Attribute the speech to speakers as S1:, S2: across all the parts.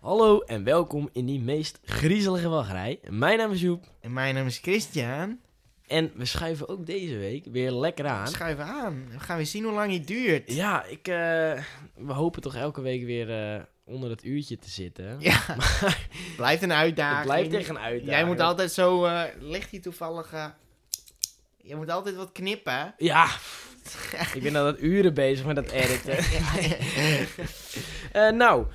S1: Hallo en welkom in die meest griezelige wachtrij. Mijn naam is Joep
S2: En mijn naam is Christian.
S1: en we schuiven ook deze week weer lekker aan.
S2: Schuif aan. We gaan weer zien hoe lang het duurt.
S1: Ja, ik, eh, we hopen toch elke week weer eh, onder het uurtje te zitten.
S2: Ja. blijft een uitdaging.
S1: Het blijft echt een uitdaging.
S2: Jij moet altijd zo... eh, ligt hier toevallig... eh, je moet altijd wat knippen.
S1: Ja, ik ben al dat uren bezig met dat editen. Eh, nou,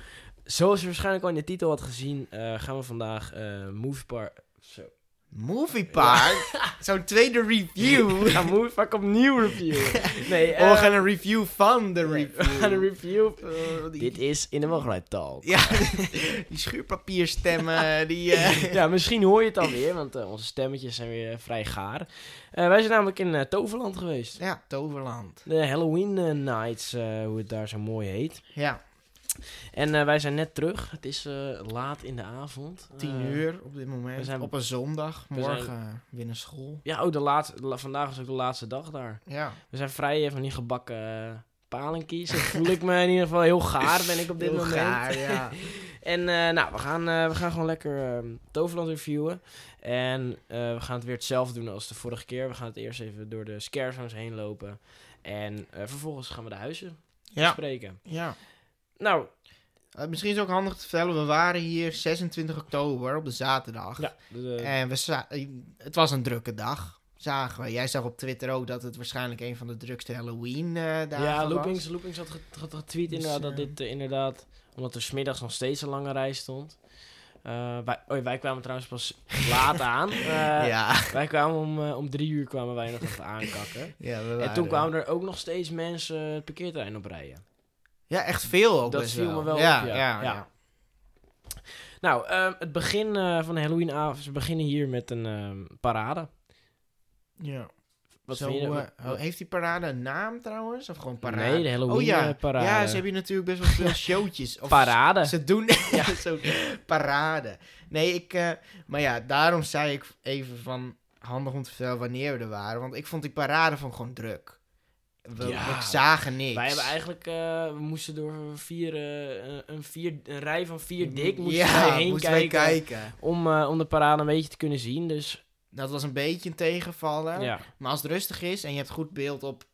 S1: zoals je waarschijnlijk al in de titel had gezien, eh, gaan we vandaag eh Movie Park... Zo.
S2: Movie Park. Zo'n tweede review.
S1: We gaan Movie Park opnieuw reviewen. Nee,
S2: Oh, we
S1: eh,
S2: gaan een review van de
S1: we
S2: review.
S1: gaan een review.
S2: Oh, die,
S1: Dit is In de Wachtrij Talk.
S2: Ja, die schuurpapierstemmen. Die, eh,
S1: Ja, misschien hoor je het alweer, want eh, onze stemmetjes zijn weer eh, vrij gaar. Eh, wij zijn namelijk in eh, Toverland geweest.
S2: ja, Toverland.
S1: De Halloween eh, Nights, eh, hoe het daar zo mooi heet.
S2: Ja,
S1: En eh, wij zijn net terug. Het is eh, laat in de avond.
S2: tien
S1: Eh,
S2: uur op dit moment.
S1: we zijn-
S2: op een zondag.
S1: we zijn-
S2: Morgen weer naar school.
S1: Ja, oh, de laatste, la- vandaag is ook de laatste dag daar.
S2: Ja.
S1: We zijn vrij eh, van die gebakken eh, palenkies. Zo voel ik me in ieder geval heel gaar, ben ik op dit
S2: Heel
S1: moment.
S2: gaar, ja.
S1: En eh, nou, we gaan, eh, we gaan gewoon lekker ehm Toverland reviewen. En eh, we gaan het weer hetzelfde doen als de vorige keer. We gaan het eerst even door de scare zones heen lopen. En eh, vervolgens gaan we de huizen
S2: ja.
S1: bespreken.
S2: ja.
S1: Nou,
S2: Eh, misschien is het ook handig te vertellen, we waren hier 26 oktober op de zaterdag.
S1: ja, de- de-
S2: En we za- eh, het was een drukke dag, zagen we. Jij zag op Twitter ook dat het waarschijnlijk een van de drukste Halloween-dagen
S1: ja,
S2: was.
S1: Loopings, Loopings had, get- had getweet
S2: Dus,
S1: inderdaad dat
S2: eh,
S1: dit eh, inderdaad... Omdat er smiddags nog steeds een lange rij stond. Eh, wij, oh, wij kwamen trouwens pas laat aan. Eh,
S2: ja,
S1: Wij kwamen om, eh, om drie uur kwamen wij nog even aankakken.
S2: ja we
S1: En
S2: waren-
S1: toen kwamen er ook nog steeds mensen het parkeerterrein op rijden.
S2: Ja, echt veel ook
S1: Dat
S2: best
S1: viel me wel
S2: ja,
S1: op, ja. Ja.
S2: Ja, ja.
S1: Nou, ehm, het begin eh, van de Halloweenavond. Ze beginnen hier met een ehm, parade.
S2: Ja.
S1: Wat
S2: Zo,
S1: vind je?
S2: eh, oh, heeft die parade een naam trouwens? Of gewoon parade?
S1: Nee, de Halloween,
S2: oh, ja.
S1: eh, parade.
S2: Ja, ze hebben hier natuurlijk best wel veel showtjes. Of
S1: parade.
S2: Ze doen ja. zo'n parade. Nee, ik... eh, maar ja, daarom zei ik even van handig om te vertellen wanneer we er waren. Want ik vond die parade van gewoon druk. We,
S1: Ja.
S2: we zagen niks.
S1: Wij hebben eigenlijk, eh, we moesten door vier, eh, een, vier, een rij van vier dik moesten
S2: Mm, ja,
S1: wij heen
S2: moesten wij
S1: kijken,
S2: kijken.
S1: Om, eh, om de parade een beetje te kunnen zien. Dus
S2: Dat was een beetje een tegenvaller.
S1: ja,
S2: Maar als het rustig is en je hebt goed beeld op...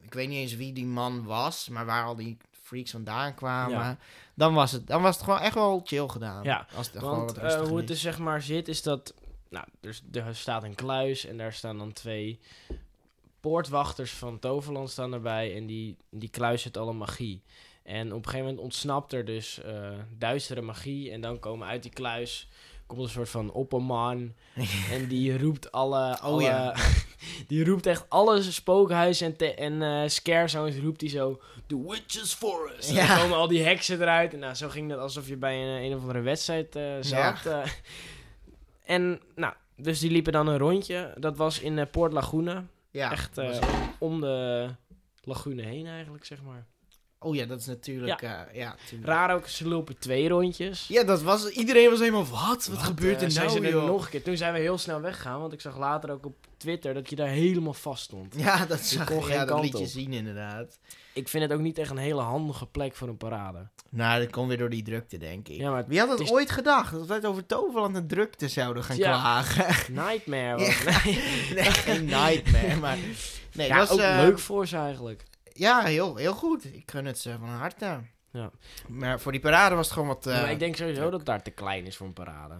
S2: Ik weet niet eens wie die man was, maar waar al die freaks vandaan kwamen.
S1: Ja.
S2: Dan, was het, dan was het gewoon echt wel chill gedaan.
S1: Ja,
S2: als het gewoon
S1: want
S2: wat
S1: eh,
S2: rustiger
S1: hoe het
S2: is.
S1: dus zeg maar zit is dat, nou, er, er staat een kluis en daar staan dan twee poortwachters van Toverland staan erbij en die, die kluis zit alle magie. En op een gegeven moment ontsnapt er dus eh, duistere magie en dan komen uit die kluis komt een soort van opperman en die roept alle, alle
S2: Oh ja.
S1: die roept echt alle spookhuizen en, te- en eh, scare zones roept hij zo The Witches for us. En
S2: Ja.
S1: dan komen al die heksen eruit en nou, zo ging dat alsof je bij een, een of andere wedstrijd eh, zat. eh. en nou, dus die liepen dan een rondje. Dat was in eh, Poort Laguna.
S2: ja,
S1: echt,
S2: was
S1: eh, om de lagune heen eigenlijk, zeg maar.
S2: Oh ja, dat is natuurlijk... eh, ja, tuurlijk.
S1: Raar ook, ze lopen twee rondjes.
S2: Ja, dat was... Iedereen was helemaal, wat? Wat, gebeurt
S1: eh,
S2: er
S1: zijn
S2: nou,
S1: ze er
S2: joh?
S1: nog een keer. Toen zijn we heel snel weggegaan, want ik zag later ook op Twitter dat je daar helemaal vast stond.
S2: Ja, dat zag
S1: kon
S2: ik.
S1: geen
S2: Ja, dat
S1: kant
S2: liet je
S1: op.
S2: zien, inderdaad.
S1: Ik vind het ook niet echt een hele handige plek voor een parade.
S2: Nou, dat komt weer door die drukte, denk ik.
S1: Ja, maar
S2: Wie had het
S1: het is-
S2: ooit gedacht? Dat wij het over Toverland en drukte zouden gaan
S1: Ja.
S2: klagen.
S1: nightmare.
S2: Ja.
S1: was het. Nee.
S2: nee, geen nightmare, maar... Nee,
S1: Ja,
S2: dat was,
S1: ook
S2: eh,
S1: leuk voor ze eigenlijk.
S2: Ja, heel, heel goed. Ik gun het ze van harte.
S1: Ja.
S2: Maar voor die parade was het gewoon wat... eh,
S1: maar ik denk sowieso dat daar te klein is voor een parade.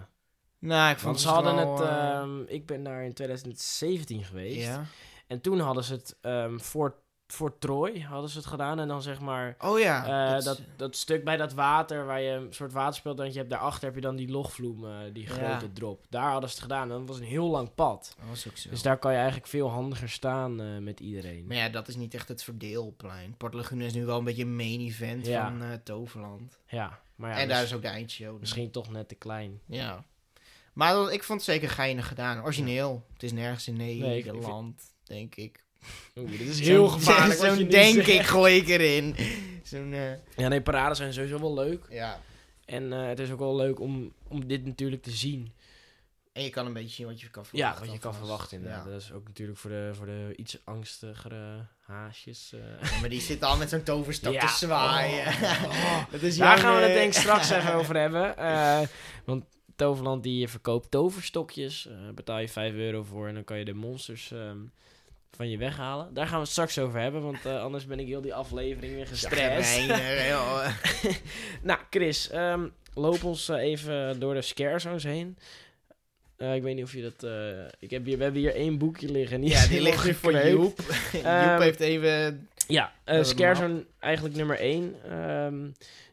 S2: Nou, ik vond
S1: Want ze
S2: het
S1: hadden
S2: wel,
S1: het...
S2: eh,
S1: ehm, ik ben daar in 2017 geweest.
S2: ja.
S1: En toen hadden ze het ehm, voor, voor Troy hadden ze het gedaan. En dan zeg maar...
S2: Oh ja.
S1: eh,
S2: dat-
S1: dat, dat, stuk bij dat water waar je een soort waterspel... je hebt daarachter heb je dan die logvloem, eh, die
S2: Ja.
S1: grote drop. Daar hadden ze het gedaan. En dat was een heel lang pad.
S2: dat was ook zo.
S1: Dus daar kan je eigenlijk veel handiger staan eh, met iedereen.
S2: Maar ja, dat is niet echt het verdeelplein. Port Lagune is nu wel een beetje een main event
S1: Ja.
S2: van eh, Toverland.
S1: Ja, maar ja,
S2: en
S1: mis-
S2: daar is ook de eindshow. dan.
S1: misschien toch net te klein.
S2: Ja. Maar dat- ik vond het zeker geinig gedaan. Origineel. Het is nergens in Nederland, denk ik.
S1: Oeh, dit is heel
S2: Zo'n-
S1: gevaarlijk. wat je
S2: Zo'n
S1: nu
S2: denk
S1: zegt.
S2: ik gooi ik erin. Zo'n, eh,
S1: Ja, nee, parades zijn sowieso wel leuk.
S2: ja.
S1: En eh, het is ook wel leuk om, om dit natuurlijk te zien.
S2: En je kan een beetje zien wat je kan
S1: Ja,
S2: verwachten.
S1: wat je kan
S2: alvast.
S1: verwachten
S2: Ja.
S1: inderdaad. Dat is ook natuurlijk voor de, voor de iets angstigere haasjes. eh.
S2: Ja, Maar die zit al met zo'n toverstaf
S1: Ja.
S2: te zwaaien.
S1: Oh, oh.
S2: Dat is
S1: Daar
S2: jouw,
S1: gaan we het
S2: eh,
S1: denk ik straks even over hebben. Eh, want Toverland die verkoopt toverstokjes. Eh, betaal je 5 euro voor en dan kan je de monsters ehm, van je weghalen. Daar gaan we het straks over hebben, want eh, anders ben ik heel die aflevering weer gestrest.
S2: chagrijnig, joh.
S1: nou, Chris, ehm, loop ons eh, even door de scare zones heen. Eh, ik weet niet of je dat... eh, ik heb hier, we hebben hier één boekje liggen.
S2: Ja,
S1: is
S2: die
S1: heel
S2: ligt nu voor
S1: gepleegd.
S2: Joep. Joep
S1: Ehm,
S2: heeft even...
S1: Ja,
S2: we
S1: eh
S2: hem
S1: Scare
S2: af.
S1: Zone eigenlijk nummer 1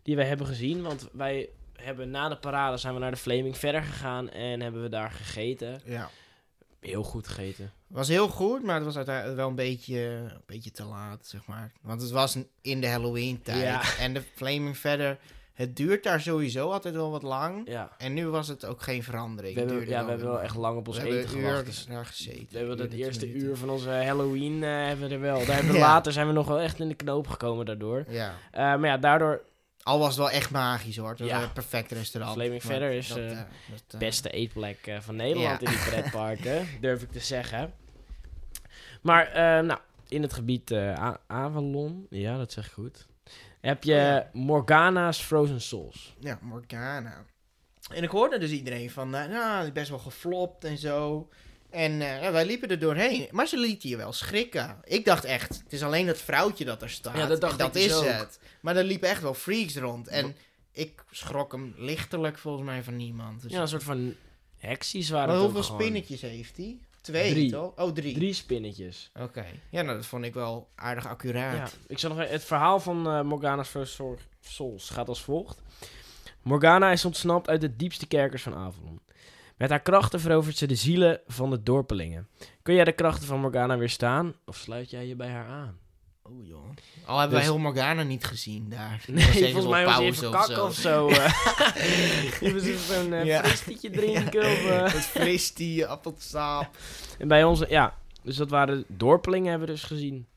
S1: die wij hebben gezien. Want wij hebben na de parade zijn we naar de Flaming verder gegaan en hebben we daar gegeten.
S2: Ja,
S1: Heel goed gegeten.
S2: was heel goed, maar het was uiteindelijk wel een beetje, een beetje te laat, zeg maar. Want het was in de Halloween-tijd.
S1: Ja.
S2: En de Flaming verder, het duurt daar sowieso altijd wel wat lang.
S1: Ja,
S2: En nu was het ook geen verandering.
S1: we hebben,
S2: Duurde
S1: ja, we
S2: wel
S1: hebben wel
S2: weer
S1: echt lang op ons
S2: we
S1: eten
S2: hebben een uur
S1: gewacht. Dus
S2: daar gezeten.
S1: we hebben
S2: Uur,
S1: dat
S2: 30
S1: eerste
S2: minuten.
S1: uur van onze Halloween eh, hebben we er wel. Daar hebben we
S2: Ja.
S1: Later zijn we nog wel echt in de knoop gekomen daardoor.
S2: Ja.
S1: Eh, maar ja, daardoor
S2: Al was het wel echt magisch hoor. Het was
S1: Ja.
S2: een perfect restaurant.
S1: Flaming
S2: Maar
S1: Verder is,
S2: dat,
S1: eh,
S2: eh, dat, eh,
S1: beste eetplek eh, van Nederland
S2: Ja.
S1: in die pretparken, durf ik te zeggen. Maar eh, nou, in het gebied eh, A- Avalon, ja, dat zeg ik goed, heb je
S2: Oh, ja.
S1: Morgana's Frozen Souls.
S2: Ja, Morgana. En ik hoorde dus iedereen van, eh, nou, die is best wel geflopt en zo. En eh, ja, wij liepen er doorheen. Maar ze lieten je wel schrikken. Ik dacht echt, het is alleen dat vrouwtje dat er staat.
S1: Ja, dat dacht
S2: En dat
S1: ik dus
S2: is
S1: ook.
S2: het. Maar er liepen echt wel freaks rond. En ik schrok hem lichtelijk volgens mij van niemand. Dus
S1: Ja, een soort van heksies waren
S2: maar
S1: het ook
S2: hoeveel
S1: gewoon.
S2: spinnetjes heeft hij? Twee,
S1: Drie.
S2: toch? Oh, drie.
S1: Drie spinnetjes.
S2: Oké. Ja, nou, dat vond ik wel aardig accuraat.
S1: Ja, ik zal nog even- het verhaal van eh, Morgana's Frozen Soul- Souls gaat als volgt. Morgana is ontsnapt uit de diepste kerkers van Avalon. Met haar krachten verovert ze de zielen van de dorpelingen. Kun jij de krachten van Morgana weerstaan of sluit jij je bij haar aan?
S2: Oh, joh. Al hebben
S1: Dus-
S2: wij heel Morgana niet gezien daar.
S1: Nee,
S2: Was even
S1: volgens
S2: op
S1: mij was hij
S2: pauze
S1: even
S2: of
S1: kak
S2: zo.
S1: of zo. eh. Die was even zo'n eh
S2: Ja.
S1: fristietje drinken. Of, eh.
S2: Dat fris die appelsap.
S1: En bij ons, ja. Dus dat waren dorpelingen hebben we dus gezien.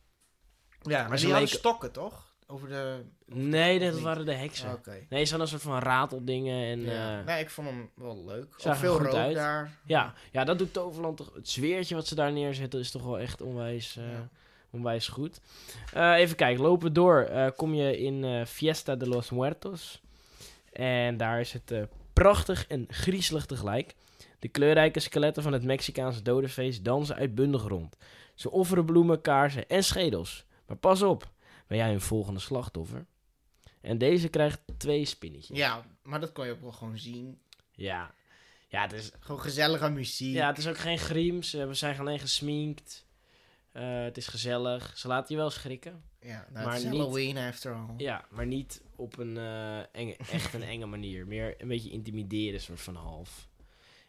S2: Ja, maar
S1: ze
S2: die hadden
S1: leken-
S2: stokken, toch? Over de...
S1: Nee,
S2: dat
S1: dat
S2: niet?
S1: waren de
S2: Ah,
S1: heksen.
S2: Oké.
S1: Oh. Nee, ze hadden een soort van rateldingen. En,
S2: Ja.
S1: eh,
S2: Nee, ik vond hem wel leuk.
S1: Zag
S2: Ook
S1: er
S2: veel
S1: goed
S2: rook
S1: uit.
S2: daar.
S1: ja. ja, dat doet Toverland toch. Het zweertje wat ze daar neerzetten is toch wel echt onwijs, eh,
S2: Ja.
S1: onwijs goed. Eh, even kijken, lopen we door. eh, kom je in eh, Fiesta de los Muertos. En daar is het eh, prachtig en griezelig tegelijk. De kleurrijke skeletten van het Mexicaanse dodenfeest dansen uitbundig rond. Ze offeren bloemen, kaarsen en schedels. Maar pas op, ben jij een volgende slachtoffer? En deze krijgt twee spinnetjes.
S2: Ja, maar dat kon je ook wel gewoon zien.
S1: Ja, ja het is
S2: Gewoon gezellige muziek.
S1: Ja, het is ook geen griems. eh, We zijn alleen gesminkt. Eh, het is gezellig. Ze laten je wel schrikken.
S2: Ja, nou,
S1: maar
S2: het is
S1: niet-
S2: Halloween after all.
S1: Ja, maar niet op een eh, enge, echt een enge manier. Meer een beetje intimideren, soort van half.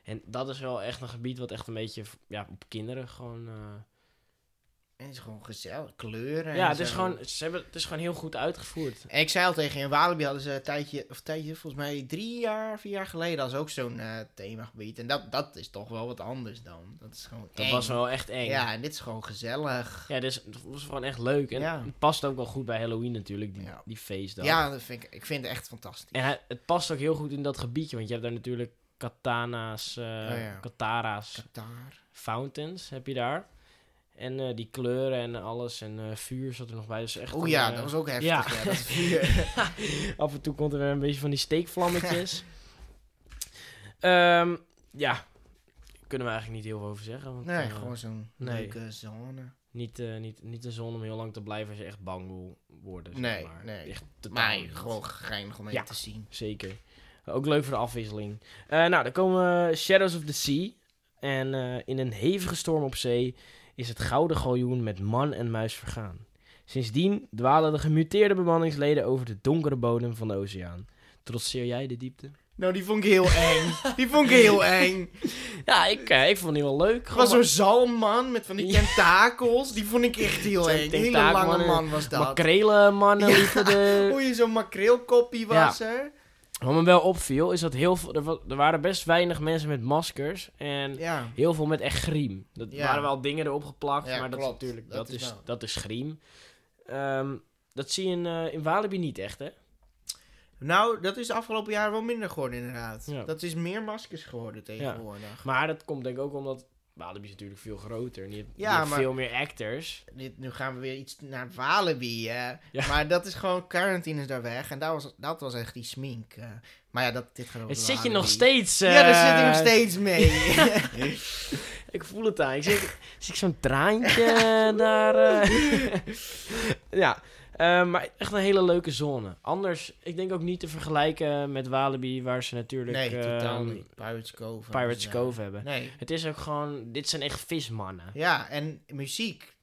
S1: En dat is wel echt een gebied wat echt een beetje ja, op kinderen gewoon. eh,
S2: En het is gewoon gezellig. Kleuren
S1: ja,
S2: en
S1: het is,
S2: zo.
S1: gewoon, ze hebben, het is gewoon heel goed uitgevoerd.
S2: En ik zei al tegen je, in Walibi hadden ze een tijdje, of tijdje, volgens mij drie jaar, vier jaar geleden, als ook zo'n eh, themagebied. En dat, dat is toch wel wat anders dan. Dat is gewoon
S1: Dat
S2: eng.
S1: was wel echt eng. Ja,
S2: Ja, en dit is gewoon gezellig.
S1: dus het was gewoon echt leuk. En
S2: Ja.
S1: het past ook wel goed bij Halloween natuurlijk, die,
S2: Ja.
S1: die feestdag.
S2: Ja, dat vind ik, ik vind het echt fantastisch.
S1: En hij- het past ook heel goed in dat gebiedje, want je hebt daar natuurlijk katana's, eh
S2: ja.
S1: katara's,
S2: Qatar.
S1: fountains heb je daar. En eh, die kleuren en alles en eh, vuur zat er nog bij. Dus echt
S2: Oh
S1: een,
S2: ja,
S1: eh,
S2: dat was ook heftig.
S1: ja.
S2: Ja. dat vuur.
S1: Af en toe komt er weer een beetje van die steekvlammetjes. Ehm, ja, kunnen we eigenlijk niet heel veel over zeggen. Want,
S2: nee,
S1: eh,
S2: gewoon zo'n
S1: nee.
S2: leuke zone.
S1: niet, eh, niet, niet de zon om heel lang te blijven als je echt bang wil worden. zeg
S2: Nee,
S1: maar.
S2: nee.
S1: Echt totaal
S2: Maar
S1: niet.
S2: gewoon geinig om even
S1: Ja.
S2: te zien.
S1: Zeker. Ook leuk voor de afwisseling. Eh, nou, dan komen eh, Shadows of the Sea. En eh, in een hevige storm op zee is het gouden galjoen met man en muis vergaan. Sindsdien dwalen de gemuteerde bemanningsleden over de donkere bodem van de oceaan. Trotseer jij de diepte?
S2: Nou, die vond ik heel eng. Die vond ik heel eng.
S1: Ja, ik, eh, ik vond die wel leuk.
S2: Er was
S1: Gewoon
S2: zo'n zalmman met van die
S1: Ja.
S2: tentakels. Die vond ik echt heel
S1: Zo'n
S2: eng. Een hele
S1: tentakelman
S2: lange
S1: en-
S2: man was dat.
S1: makrelenmannen
S2: Ja.
S1: liepen er.
S2: Oei, zo'n makreelkoppie was er.
S1: Wat me wel opviel is dat heel veel, er, wa- er waren best weinig mensen met maskers. En
S2: Ja.
S1: Heel veel met echt griem. Dat
S2: Ja.
S1: waren wel dingen erop geplakt,
S2: Ja,
S1: maar dat
S2: klopt.
S1: is natuurlijk dat,
S2: Dat is
S1: is,
S2: wel.
S1: dat is griem. Ehm, dat zie je in, eh, in Walibi niet echt, hè?
S2: Nou, dat is de afgelopen jaar wel minder geworden, inderdaad.
S1: Ja.
S2: Dat is meer maskers geworden tegenwoordig.
S1: Maar dat komt denk ik ook omdat Walibi is natuurlijk veel groter. En je hebt, je
S2: Ja,
S1: hebt
S2: maar-
S1: veel meer actors.
S2: Dit, nu gaan we weer iets naar Walibi, hè.
S1: Ja.
S2: Maar dat is gewoon, quarantine is daar weg. En dat was, dat was echt die smink. eh. maar ja, dat, dit gaat over
S1: Het zit je
S2: Walibi.
S1: nog steeds... eh,
S2: ja, daar zit hij nog steeds mee.
S1: Ik voel het aan. Ik zie, zie ik zo'n traantje daar. eh. ja, eh, maar echt een hele leuke zone. Anders, ik denk ook niet te vergelijken met Walibi, waar ze natuurlijk
S2: nee,
S1: eh,
S2: totaal niet. Pirates Cove.
S1: Pirates
S2: Ja.
S1: Cove hebben.
S2: Nee.
S1: Het is ook gewoon, dit zijn echt vismannen.
S2: Ja, en muziek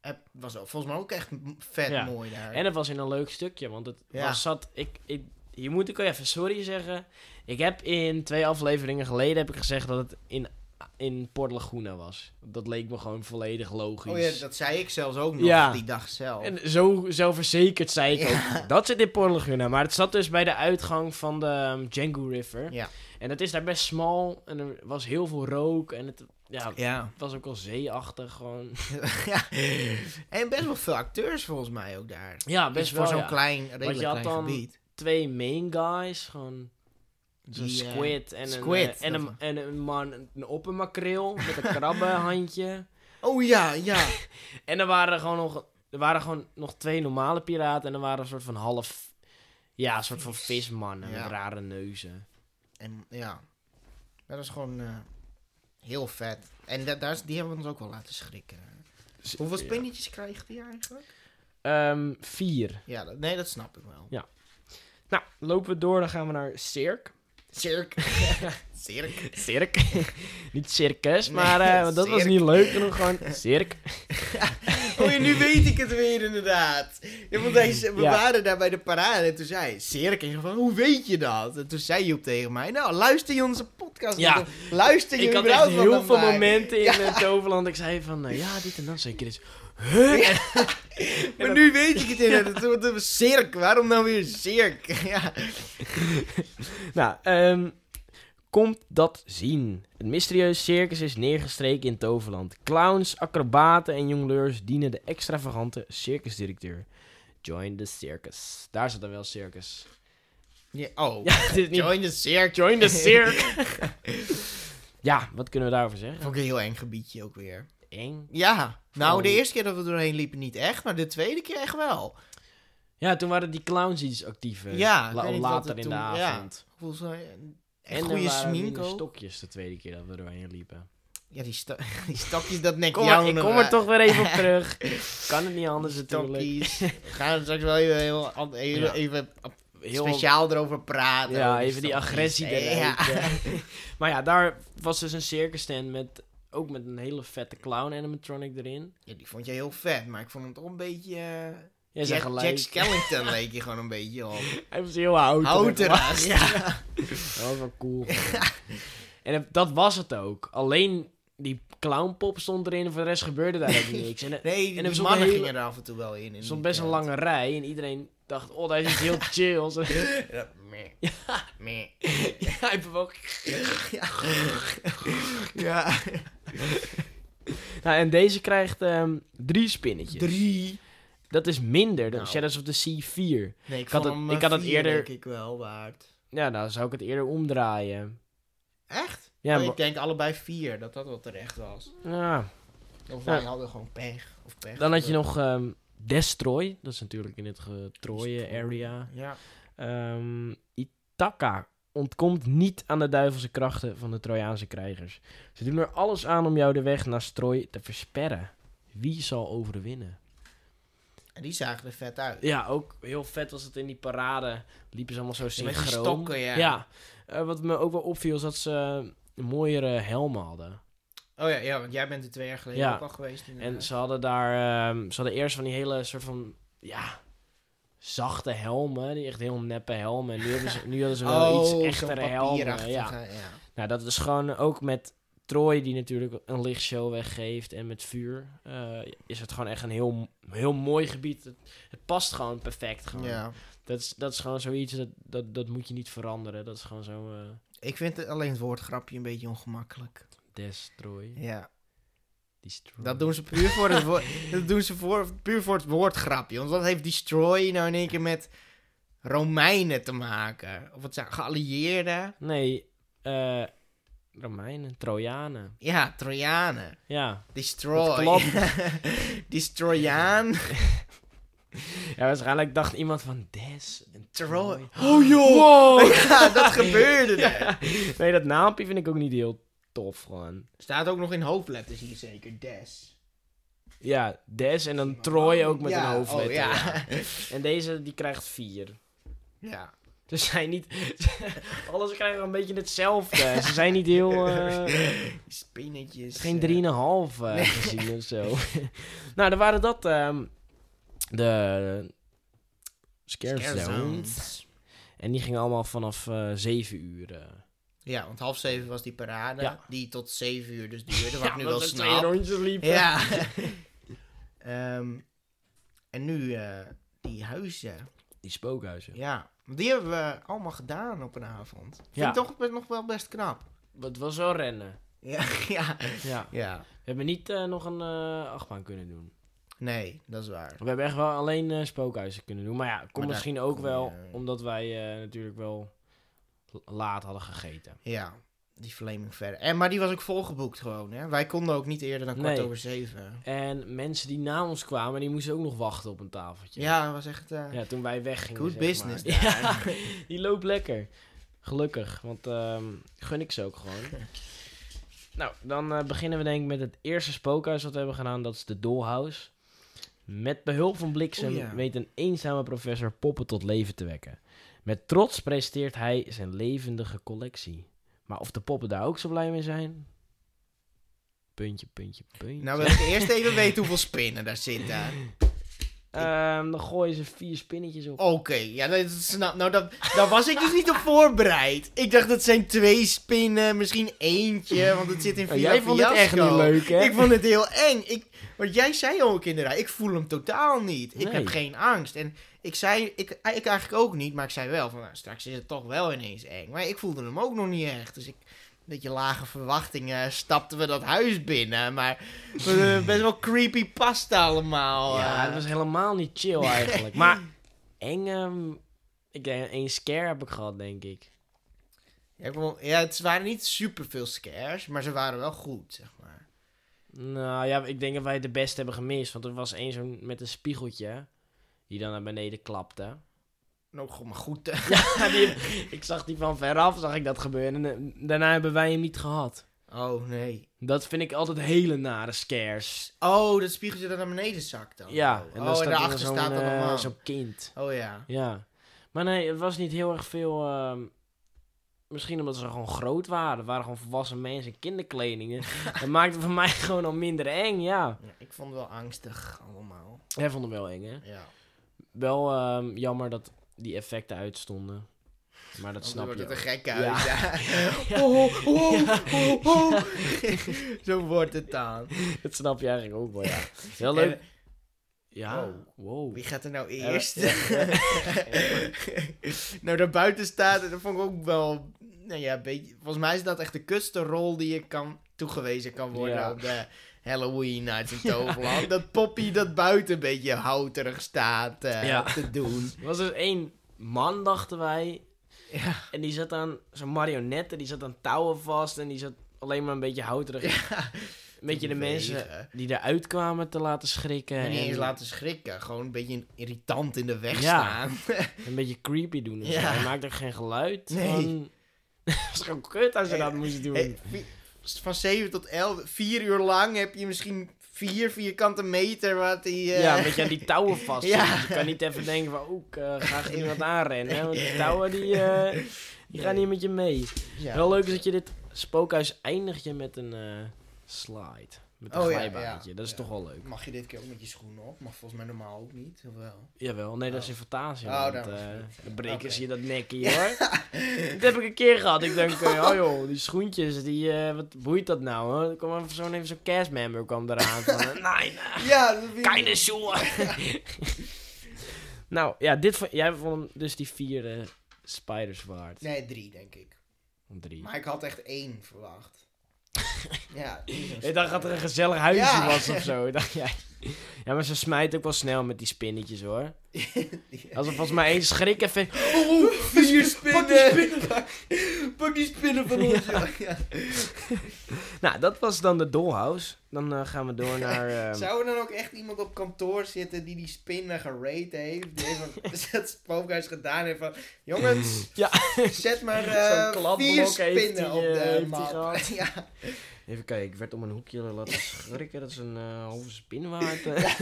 S2: heb- was volgens mij ook echt m- vet
S1: Ja.
S2: mooi daar.
S1: En het was in een leuk stukje, want het
S2: Ja.
S1: was zat. Ik, ik, hier moet ik wel even sorry zeggen. Ik heb in twee afleveringen geleden heb ik gezegd dat het in, in Port Laguna was. Dat leek me gewoon volledig logisch.
S2: oh ja, dat zei ik zelfs ook nog
S1: Ja.
S2: die dag zelf.
S1: En zo zelfverzekerd zei ik
S2: Ja.
S1: ook. Dat zit in Port Laguna. Maar het zat dus bij de uitgang van de ehm, Django River.
S2: Ja.
S1: En het is daar best smal. En er was heel veel rook. En het, ja, het
S2: ja.
S1: was ook wel zeeachtig. Gewoon.
S2: ja. En best wel veel acteurs volgens mij ook daar.
S1: Ja,
S2: Best
S1: best
S2: voor
S1: wel
S2: zo'n
S1: ja.
S2: klein, redelijk
S1: je had
S2: klein
S1: dan
S2: gebied.
S1: Twee main guys. Gewoon zo'n
S2: Die, eh,
S1: squid. En,
S2: squid,
S1: een, eh, en,
S2: dat-
S1: een, en een man een oppermakreel met een krabbenhandje.
S2: Oh ja, ja.
S1: En er waren gewoon nog, er waren gewoon nog twee normale piraten. En er waren een soort van half... Ja, een soort van vismannen
S2: Ja.
S1: met rare neuzen.
S2: en, ja. Dat is gewoon eh, heel vet. En da- daar, is- die hebben we ons ook wel laten schrikken. Dus Hoeveel
S1: Ja.
S2: spinnetjes krijgt die eigenlijk?
S1: Ehm, vier.
S2: Ja, dat- nee, dat snap ik wel.
S1: Nou, lopen we door, dan gaan we naar Cirque.
S2: Cirk. Cirk.
S1: Cirque. Niet circus,
S2: Nee,
S1: maar eh, want dat was
S2: cirque.
S1: niet leuk genoeg. Gewoon Cirque.
S2: Oh ja, nu weet ik het weer inderdaad. Ja, want hij, ze- we
S1: Ja.
S2: waren daar bij de parade en toen zei hij, Cirk, en ik van, hoe weet je dat? En toen zei Joep tegen mij, nou, luister je onze podcast?
S1: Ja.
S2: dan- Luister je
S1: Ik had echt
S2: überhaupt wat
S1: heel
S2: naar
S1: veel
S2: mij?
S1: momenten in het Toverland. Ik zei van, nou ja, dit en dat. Zeker dit. Huh?
S2: Maar nu weet ik het inderdaad. Toen- toen- Cirk, waarom nou weer Cirk? Ja.
S1: Nou, ehm, komt dat zien. Het mysterieuze circus is neergestreken in Toverland. Clowns, acrobaten en jongleurs dienen de extravagante circusdirecteur. Join the circus. Daar zat dan wel circus.
S2: Ja, oh,
S1: Ja, het is niet
S2: join the Cirk.
S1: Join the circus. ja, wat kunnen we daarover zeggen?
S2: Vond ik een heel eng gebiedje ook weer.
S1: Eng.
S2: Ja, nou
S1: Oh.
S2: de eerste keer dat we er doorheen liepen niet echt, maar de tweede keer echt wel.
S1: Ja, toen waren die clowns iets actiever.
S2: Ja, ik
S1: La-
S2: weet niet wat
S1: later
S2: het
S1: in de
S2: toen- ja.
S1: avond.
S2: Volgens mij eh, een echt
S1: er
S2: goede
S1: waren minder
S2: smink ook.
S1: stokjes de tweede keer dat we er doorheen liepen.
S2: Ja, die, sta- die stokjes, dat nek
S1: Kom
S2: jou
S1: maar, ik
S2: nog
S1: kom
S2: uit.
S1: er toch weer even op terug. kan het niet anders natuurlijk.
S2: Stokjes. We gaan er straks wel even, heel, an- heel-
S1: Ja.
S2: even
S1: Heel
S2: speciaal erover praten.
S1: Ja,
S2: over
S1: even die
S2: stokjes.
S1: agressie eruit.
S2: Ja.
S1: ja. maar ja, daar was dus een circus stand met ook met een hele vette clown animatronic erin.
S2: Ja, die vond je heel vet, maar ik vond hem toch een beetje... eh,
S1: Ja, zijn
S2: Jack, Jack
S1: gelijk.
S2: Skellington leek je gewoon een beetje op.
S1: Hij was heel oud.
S2: Houterig. Ja.
S1: Dat was wel cool. gewoon. en het- dat was het ook. Alleen die clownpop stond erin en voor de rest gebeurde daar ook niks. En er
S2: Nee, die,
S1: En er
S2: die
S1: stond
S2: mannen
S1: een hele-
S2: gingen er af en toe wel in. in
S1: stond
S2: die eh,
S1: best een
S2: tent.
S1: lange rij en iedereen dacht, oh, daar is iets heel chills.
S2: Ja, meh. Meh.
S1: ja, hij bewoog.
S2: Ja.
S1: Nou, en deze krijgt ehm, drie spinnetjes.
S2: Drie.
S1: Dat is minder dan
S2: Nou.
S1: Shadows of the Sea 4.
S2: Nee, ik,
S1: had
S2: vond
S1: het-
S2: hem,
S1: ik
S2: eh,
S1: had het
S2: vier,
S1: eerder-
S2: denk ik wel waard.
S1: Ja, nou zou ik het eerder omdraaien.
S2: Echt?
S1: Ja,
S2: Oh,
S1: maar-
S2: ik denk allebei vier, dat dat wel terecht was.
S1: ja.
S2: Of
S1: Ja.
S2: wij hadden gewoon pech. Of pech.
S1: Dan had je nog ehm, Destroy. Dat is natuurlijk in het getrooien area.
S2: Ja.
S1: Ehm Ithaca ontkomt niet aan de duivelse krachten van de Trojaanse krijgers. Ze doen er alles aan om jou de weg naar Troy te versperren. Wie zal overwinnen?
S2: En die zagen er vet uit.
S1: Ja, ook heel vet was het in die parade. Liepen ze allemaal zo
S2: die
S1: synchroon.
S2: stokken, ja.
S1: Eh, wat me ook wel opviel is dat ze eh, mooiere helmen hadden.
S2: Oh ja, ja, want jij bent er twee jaar geleden
S1: Ja.
S2: ook al geweest.
S1: En
S2: inderdaad.
S1: ze hadden daar, ehm, ze hadden eerst van die hele soort van, ja, zachte helmen, die echt heel neppe helmen. En nu hebben ze, nu hadden ze wel
S2: Oh, zo'n
S1: iets echtere helmen.
S2: papierachtige,
S1: Ja.
S2: ja.
S1: Nou, dat is gewoon ook met Troy, die natuurlijk een lichtshow weggeeft en met vuur, eh, is het gewoon echt een heel, heel mooi gebied. Het, het past gewoon perfect. Gewoon.
S2: Ja.
S1: Dat, is, dat is gewoon zoiets, dat, dat, dat moet je niet veranderen. Dat is gewoon zo, eh
S2: Ik vind het, alleen het woordgrapje een beetje ongemakkelijk.
S1: destroy,
S2: Ja.
S1: destroy.
S2: Dat doen ze puur voor het, woord, dat doen ze voor, puur voor het woordgrapje. Want wat heeft Destroy nou in één keer met Romeinen te maken. Of wat zijn geallieerden?
S1: Nee, eh, Romeinen, Trojanen.
S2: Ja, Trojanen.
S1: Ja. Dat
S2: Destroy.
S1: klopt.
S2: Destroyaan.
S1: ja, waarschijnlijk dacht iemand van Des en
S2: Troy.
S1: Troy.
S2: Oh joh!
S1: Wow!
S2: Ja, dat gebeurde er.
S1: nee, dat naampje vind ik ook niet heel tof gewoon.
S2: Staat ook nog in hoofdletters hier zeker. Des.
S1: Ja, Des en dan Troy ook met
S2: Ja,
S1: een hoofdletter.
S2: Oh,
S1: ja.
S2: ja.
S1: En deze, die krijgt vier.
S2: ja.
S1: Ze zijn niet... Alles krijgen een beetje hetzelfde. Ze zijn niet heel... eh,
S2: Spinnetjes.
S1: Geen
S2: eh,
S1: 3,5 eh, gezien of zo. nou, dan waren dat ehm, de scare,
S2: Scare
S1: zones.
S2: zones.
S1: En die gingen allemaal vanaf eh 7 uur. eh.
S2: Ja, want half zeven was die parade.
S1: Ja.
S2: Die tot zeven uur dus duurde.
S1: Ja,
S2: Wat ik nu
S1: omdat
S2: wel
S1: er twee
S2: snap.
S1: rondjes liepen.
S2: Ja. Ehm, en nu eh, die huizen.
S1: Die spookhuizen.
S2: Ja. Want Die hebben we allemaal gedaan op een avond. Vind
S1: Ja.
S2: ik toch be- nog wel best knap.
S1: Het was wel rennen.
S2: Ja, ja.
S1: Ja.
S2: Ja.
S1: We hebben niet eh, nog een eh, achtbaan kunnen doen.
S2: Nee, dat is waar.
S1: We hebben echt wel alleen eh, spookhuizen kunnen doen. Maar ja, komt
S2: daar
S1: misschien ook
S2: kom je-
S1: wel omdat wij eh, natuurlijk wel l- laat hadden gegeten.
S2: Ja. Die Flaming verder. En, maar die was ook volgeboekt gewoon, hè. Wij konden ook niet eerder dan kwart
S1: Nee.
S2: over zeven.
S1: En mensen die na ons kwamen, die moesten ook nog wachten op een tafeltje.
S2: Ja, dat was echt... eh,
S1: Ja, toen wij weggingen.
S2: Good
S1: zeg
S2: business
S1: maar. Ja,
S2: daar.
S1: die loopt lekker. Gelukkig, want ehm, gun ik ze ook gewoon. nou, dan eh, beginnen we denk ik met het eerste spookhuis dat we hebben gedaan. Dat is de Dollhouse. Met behulp van bliksem
S2: Oeh, Oh ja.
S1: weet een eenzame professor poppen tot leven te wekken. Met trots presenteert hij zijn levendige collectie. Maar of de poppen daar ook zo blij mee zijn? Puntje, puntje, puntje.
S2: Nou, wil ik eerst even weten hoeveel spinnen daar zitten.
S1: Ehm, dan gooien ze vier spinnetjes op.
S2: Oké, ja, dat snap. Nou, dat, daar was ik dus niet op voorbereid. Ik dacht dat zijn twee spinnen, misschien eentje, want het zit in
S1: Oh,
S2: Villa
S1: jij vond het echt
S2: Fiasco.
S1: niet leuk, hè?
S2: Ik vond het heel eng. Ik, want jij zei ook in de rij, ik voel hem totaal niet. Ik
S1: Nee.
S2: heb geen angst. En ik zei, ik, ik eigenlijk ook niet, maar ik zei wel van, nou, straks is het toch wel ineens eng. Maar ik voelde hem ook nog niet echt. Dus ik, een beetje lage verwachtingen, stapten we dat huis binnen. Maar eh, best wel creepy pasta allemaal.
S1: Ja,
S2: eh.
S1: het was helemaal niet chill eigenlijk. Maar eng, ehm, ik denk één scare heb ik gehad, denk ik.
S2: Ja, ik bedoel, ja, het waren niet super veel scares, maar ze waren wel goed, zeg maar.
S1: Nou ja, ik denk dat wij de beste hebben gemist. Want er was één zo'n met een spiegeltje. Die dan naar beneden klapte.
S2: Nou, gewoon maar goed. eh.
S1: Ja, die- ik zag die van veraf, zag ik dat gebeuren. En eh, daarna hebben wij hem niet gehad.
S2: Oh, nee.
S1: Dat vind ik altijd hele nare scares.
S2: Oh, dat spiegeltje dat naar beneden zakt dan.
S1: Ja,
S2: Oh,
S1: en
S2: oh,
S1: dan staat
S2: daarachter
S1: er zo'n
S2: staat dan
S1: eh,
S2: normaal.
S1: zo'n kind.
S2: Oh ja.
S1: Ja. Maar nee, het was niet heel erg veel. ehm, misschien omdat ze gewoon groot waren. Het waren gewoon volwassen mensen in kinderkleding. dat maakte voor mij gewoon al minder eng, ja.
S2: Ja, Ik vond het wel angstig allemaal.
S1: Hij vond hem wel eng, hè?
S2: Ja.
S1: Wel ehm, jammer dat die effecten uitstonden. Maar dat
S2: Dan
S1: snap
S2: Oh, wordt
S1: je.
S2: het een
S1: ook.
S2: gekke
S1: Ja.
S2: huis. Ja. Oh, oh, oh, oh. Zo wordt het dan.
S1: Dat snap je eigenlijk ook wel, ja. Heel leuk.
S2: En, eh,
S1: Ja,
S2: Wow.
S1: wow.
S2: wie gaat er nou
S1: Ja,
S2: eerst?
S1: ja,
S2: nou, daarbuiten staat, dat vond ik ook wel... Nou ja, een beetje, volgens mij is dat echt de kutste rol die je kan toegewezen kan worden
S1: Ja.
S2: op de Halloween Nights in Toverland. Dat Poppy dat buiten een beetje houterig staat eh,
S1: Ja.
S2: te doen.
S1: Er was dus één man, dachten wij.
S2: Ja.
S1: En die zat aan zo'n marionetten, die zat aan touwen vast en die zat alleen maar een beetje houterig. Een beetje de mensen
S2: Bewegen.
S1: die eruit kwamen te laten schrikken.
S2: En niet eens
S1: en
S2: laten schrikken. Gewoon een beetje irritant in de weg
S1: Ja.
S2: staan.
S1: Een beetje creepy doen. en zo.
S2: Ja.
S1: Hij maakte ook geen geluid.
S2: Nee.
S1: Gewoon- Het was gewoon kut als je
S2: Hey,
S1: dat moest doen.
S2: Hey, vi- van 7 tot 11, 4 uur lang heb je misschien 4 vierkante meter wat die... eh,
S1: Ja, een beetje aan die touwen vast.
S2: Ja.
S1: zitten. Je kan niet even denken van, oeh, ik eh, ga er iemand aanrennen. hè, Want die touwen, die, eh, die gaan niet met je mee.
S2: ja.
S1: Wel leuk is dat je dit spookhuis eindigt je met een eh, slide. Met een
S2: Oh, ja,
S1: glijbaantje.
S2: ja,
S1: Dat is
S2: ja.
S1: toch wel leuk.
S2: Mag je dit keer ook met je schoenen op? Mag volgens mij normaal ook niet, of wel?
S1: Jawel, nee, dat is in fantasie.
S2: Oh,
S1: want,
S2: dat was
S1: eh,
S2: goed.
S1: dan breken
S2: Oké.
S1: ze je dat nekje, hoor. dat heb ik een keer gehad. Ik denk, eh, oh joh, die schoentjes, die, eh, wat boeit dat nou, hoor? Er kwam even zo'n even zo'n castmember kwam eraan van, eh, nee, nee,
S2: Ja, dat vind ik-
S1: keine Schuhe. nou, ja, dit vond, jij vond hem dus die vier eh, spiders waard.
S2: Nee, drie denk ik.
S1: Drie.
S2: Maar ik had echt één verwacht. ja.
S1: Ik dacht dat er een gezellig huisje
S2: Ja.
S1: was of zo, dacht jij. Ja, maar ze smijt ook wel snel met die spinnetjes hoor. Als er volgens mij één schrik even... Oh,
S2: Vier spinnen! Pak die spinnen van ons, ja. ja.
S1: Nou, dat was dan de dollhouse. Dan eh, gaan we door naar... ehm,
S2: Zou er dan ook echt iemand op kantoor zitten die die spinnen geraid heeft? Die even het spookhuis gedaan heeft van... Jongens,
S1: Ja.
S2: zet maar
S1: Zo'n
S2: eh,
S1: kladblok
S2: vier
S1: heeft hij,
S2: spinnen op
S1: eh, heeft
S2: de
S1: hij
S2: map.
S1: gehad.
S2: Ja.
S1: Even kijken, ik werd om een hoekje laten schrikken. Dat is een eh, halve spinwaard. eh.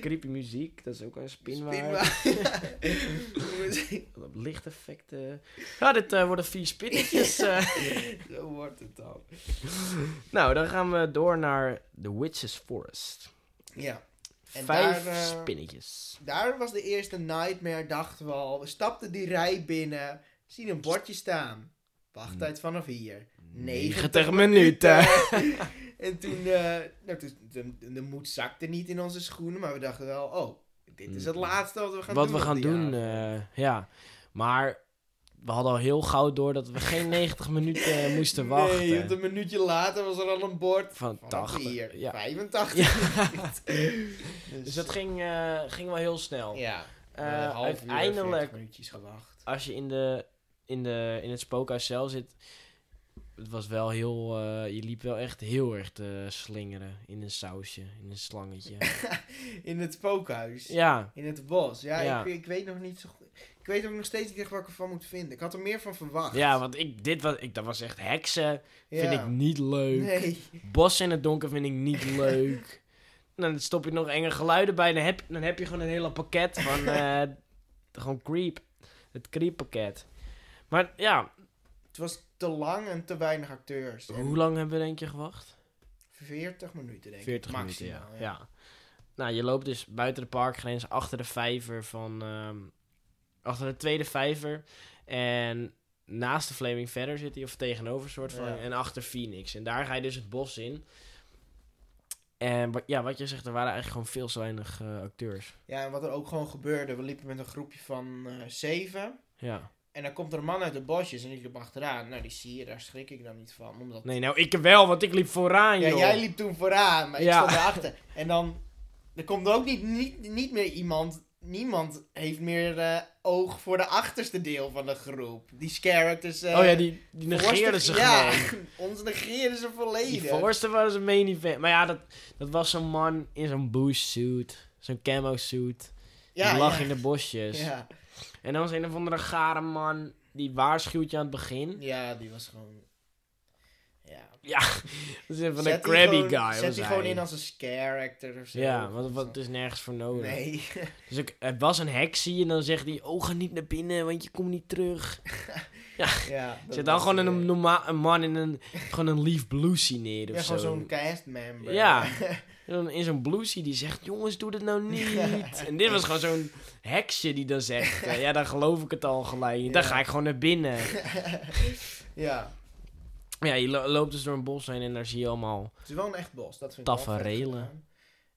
S1: Creepy muziek, dat is ook een spinwaard.
S2: Spinwaard.
S1: Lichteffecten. Ja, dit eh, worden vier spinnetjes. eh.
S2: Zo wordt het dan.
S1: Nou, dan gaan we door naar The Witch's Forest.
S2: Ja. En
S1: Vijf
S2: daar, eh,
S1: spinnetjes.
S2: Daar was de eerste nightmare, dachten we al. We stapten die rij binnen, zien een bordje staan. Wachttijd vanaf hier.
S1: 90 minuten.
S2: en toen, eh, nou, toen de, de moed zakte niet in onze schoenen, maar we dachten wel, oh, dit is het laatste wat we gaan
S1: Mm. Wat
S2: doen.
S1: we gaan
S2: op dit
S1: doen,
S2: jaar.
S1: eh, ja. Maar we hadden al heel gauw door dat we geen 90 minuten eh, moesten
S2: Nee, want
S1: wachten.
S2: een minuutje later was er al een bord.
S1: Van
S2: Vanaf
S1: 80.
S2: hier,
S1: Ja.
S2: 85. dus,
S1: Dus dat ging, eh, ging wel heel snel.
S2: ja,
S1: Eh,
S2: een half uur, 40
S1: uiteindelijk,
S2: minuutjes gewacht.
S1: als je in, de, in, de, in het spookhuis zelf zit, het was wel heel, eh, je liep wel echt heel erg te slingeren in een sausje, in een slangetje.
S2: In het spookhuis.
S1: ja,
S2: In het bos. Ja,
S1: Ja.
S2: Ik, ik weet nog niet zo goed. Ik weet ook nog steeds niet echt wat ik ervan moet vinden. Ik had er meer van verwacht.
S1: ja, want ik, dit was, ik, dat was echt heksen,
S2: Ja.
S1: vind ik niet leuk.
S2: Nee.
S1: Bos in het donker vind ik niet leuk. En dan stop je nog enge geluiden bij. Dan heb, dan heb je gewoon een hele pakket van... eh, gewoon creep. Het creep pakket. Maar ja,
S2: Het was te lang en te weinig acteurs. En
S1: hoe lang hebben we denk je gewacht?
S2: 40 minuten, denk ik.
S1: 40
S2: Maximaal,
S1: minuten, ja. ja. Nou, je loopt dus buiten de parkgrens, achter de vijver van... ehm, achter de tweede vijver. En naast de Flaming Verder zit hij, of tegenover soort van.
S2: Ja.
S1: En achter Phoenix. En daar ga je dus het bos in. En wa- ja, wat je zegt, er waren eigenlijk gewoon veel te weinig eh, acteurs.
S2: Ja, en wat er ook gewoon gebeurde. We liepen met een groepje van eh, zeven.
S1: Ja.
S2: En dan komt er een man uit de bosjes en ik liep achteraan. Nou, die zie je, daar schrik ik dan niet van. Omdat...
S1: Nee, nou ik wel, want ik liep vooraan,
S2: ja,
S1: joh.
S2: jij liep toen vooraan, maar
S1: Ja.
S2: ik stond erachter. En dan, er komt ook niet, niet, niet meer iemand. Niemand heeft meer eh, oog voor de achterste deel van de groep. Die characters. eh,
S1: oh ja, die, die negeerden ze
S2: Voorste- ja,
S1: gewoon.
S2: ons negeerden ze volledig.
S1: Die voorste was een main event. Maar ja, dat, dat was zo'n man in zo'n bush suit. Zo'n camo suit. die lag in de bosjes.
S2: ja.
S1: En dan was een of andere gare man. Die waarschuwt je aan het begin.
S2: ja, die was gewoon... Ja.
S1: Dat is een van
S2: Zet
S1: een
S2: die
S1: crabby
S2: gewoon-
S1: guy.
S2: Zet
S1: was
S2: die
S1: hij.
S2: gewoon in als een character of zo.
S1: Ja, want want het is nergens voor nodig.
S2: Nee.
S1: Dus ik, het was een heksie en dan zegt hij... Oh, ga niet naar binnen, want je komt niet terug.
S2: ja, dat
S1: Zet dan
S2: was eh,
S1: gewoon
S2: het,
S1: een,
S2: ja.
S1: norma- een man in een... Gewoon een leaf bluesie neer of
S2: Ja, gewoon
S1: zo.
S2: zo'n castmember.
S1: Ja. En dan in zo'n blousie die zegt: Jongens, doe dat nou niet.
S2: Ja.
S1: En dit was gewoon zo'n heksje die dan zegt: eh, Ja, dan geloof ik het al gelijk. niet. Dan
S2: Ja.
S1: ga ik gewoon naar binnen.
S2: ja.
S1: Maar ja, je lo- loopt dus door een bos heen en daar zie je allemaal.
S2: Het is wel een echt bos, dat vind ik wel vet
S1: Taferelen.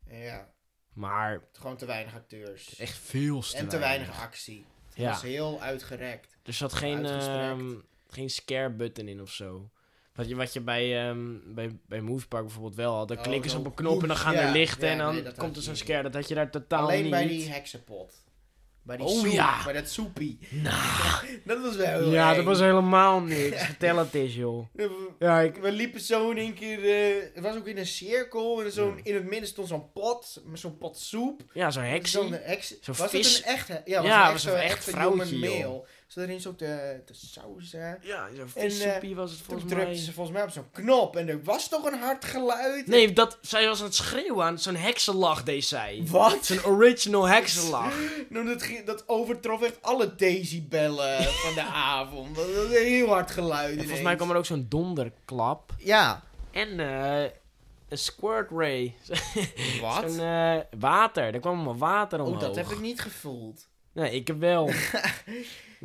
S2: gedaan. Ja,
S1: Maar
S2: gewoon te weinig acteurs.
S1: echt veel te
S2: en te weinig actie. Het
S1: Ja.
S2: was heel uitgerekt.
S1: Er zat geen,
S2: Uitgestrekt.
S1: ehm, geen scare button in of zo. Wat je, wat je bij, ehm bij, bij Moose Park bijvoorbeeld wel had. Dan
S2: Oh,
S1: klikken ze op
S2: zo'n
S1: een knop en dan
S2: push.
S1: gaan
S2: Ja,
S1: er lichten
S2: ja,
S1: en dan
S2: nee, dat
S1: komt
S2: had
S1: er
S2: je
S1: zo'n
S2: niet.
S1: scare. Dat had je daar totaal
S2: Alleen
S1: niet.
S2: bij die heksenpot. Bij die
S1: Oh
S2: soep,
S1: ja. Nou.
S2: bij dat soepie. dat was wel heel
S1: ja,
S2: eng.
S1: dat was helemaal niks. Vertel het eens, joh.
S2: We-
S1: Ja, ik,
S2: We liepen zo in één keer... eh, het was ook in een cirkel. En zo'n, in het midden stond zo'n pot. Met zo'n pot soep.
S1: ja zo'n
S2: Zo'n
S1: heksie.
S2: heks.
S1: Zo'n
S2: was
S1: vis-
S2: het een echte... Ja, was
S1: Ja,
S2: een echt
S1: was
S2: zo'n
S1: een echt
S2: echte
S1: vrouwtje,
S2: human
S1: joh.
S2: male. Ze erin zo de, de saus hè.
S1: Ja, zo'n
S2: En, eh,
S1: vissoepie was het
S2: Toen
S1: volgens
S2: drukte
S1: mij.
S2: ze volgens mij op zo'n knop. En er was toch een hard geluid.
S1: Nee, dat, zij was aan het schreeuwen. aan Zo'n heksenlach deed zij.
S2: Wat?
S1: Zo'n original heksenlach.
S2: Nou, dat, ging- dat overtrof echt alle decibellen van de avond. Dat was een heel hard geluid
S1: En volgens
S2: ineens.
S1: mij kwam er ook zo'n donderklap.
S2: Ja.
S1: En eh, een squirt ray.
S2: Wat?
S1: Zo'n eh, water. Er kwam allemaal water omhoog.
S2: Oh, dat heb ik niet gevoeld.
S1: Nee, ik heb wel. ik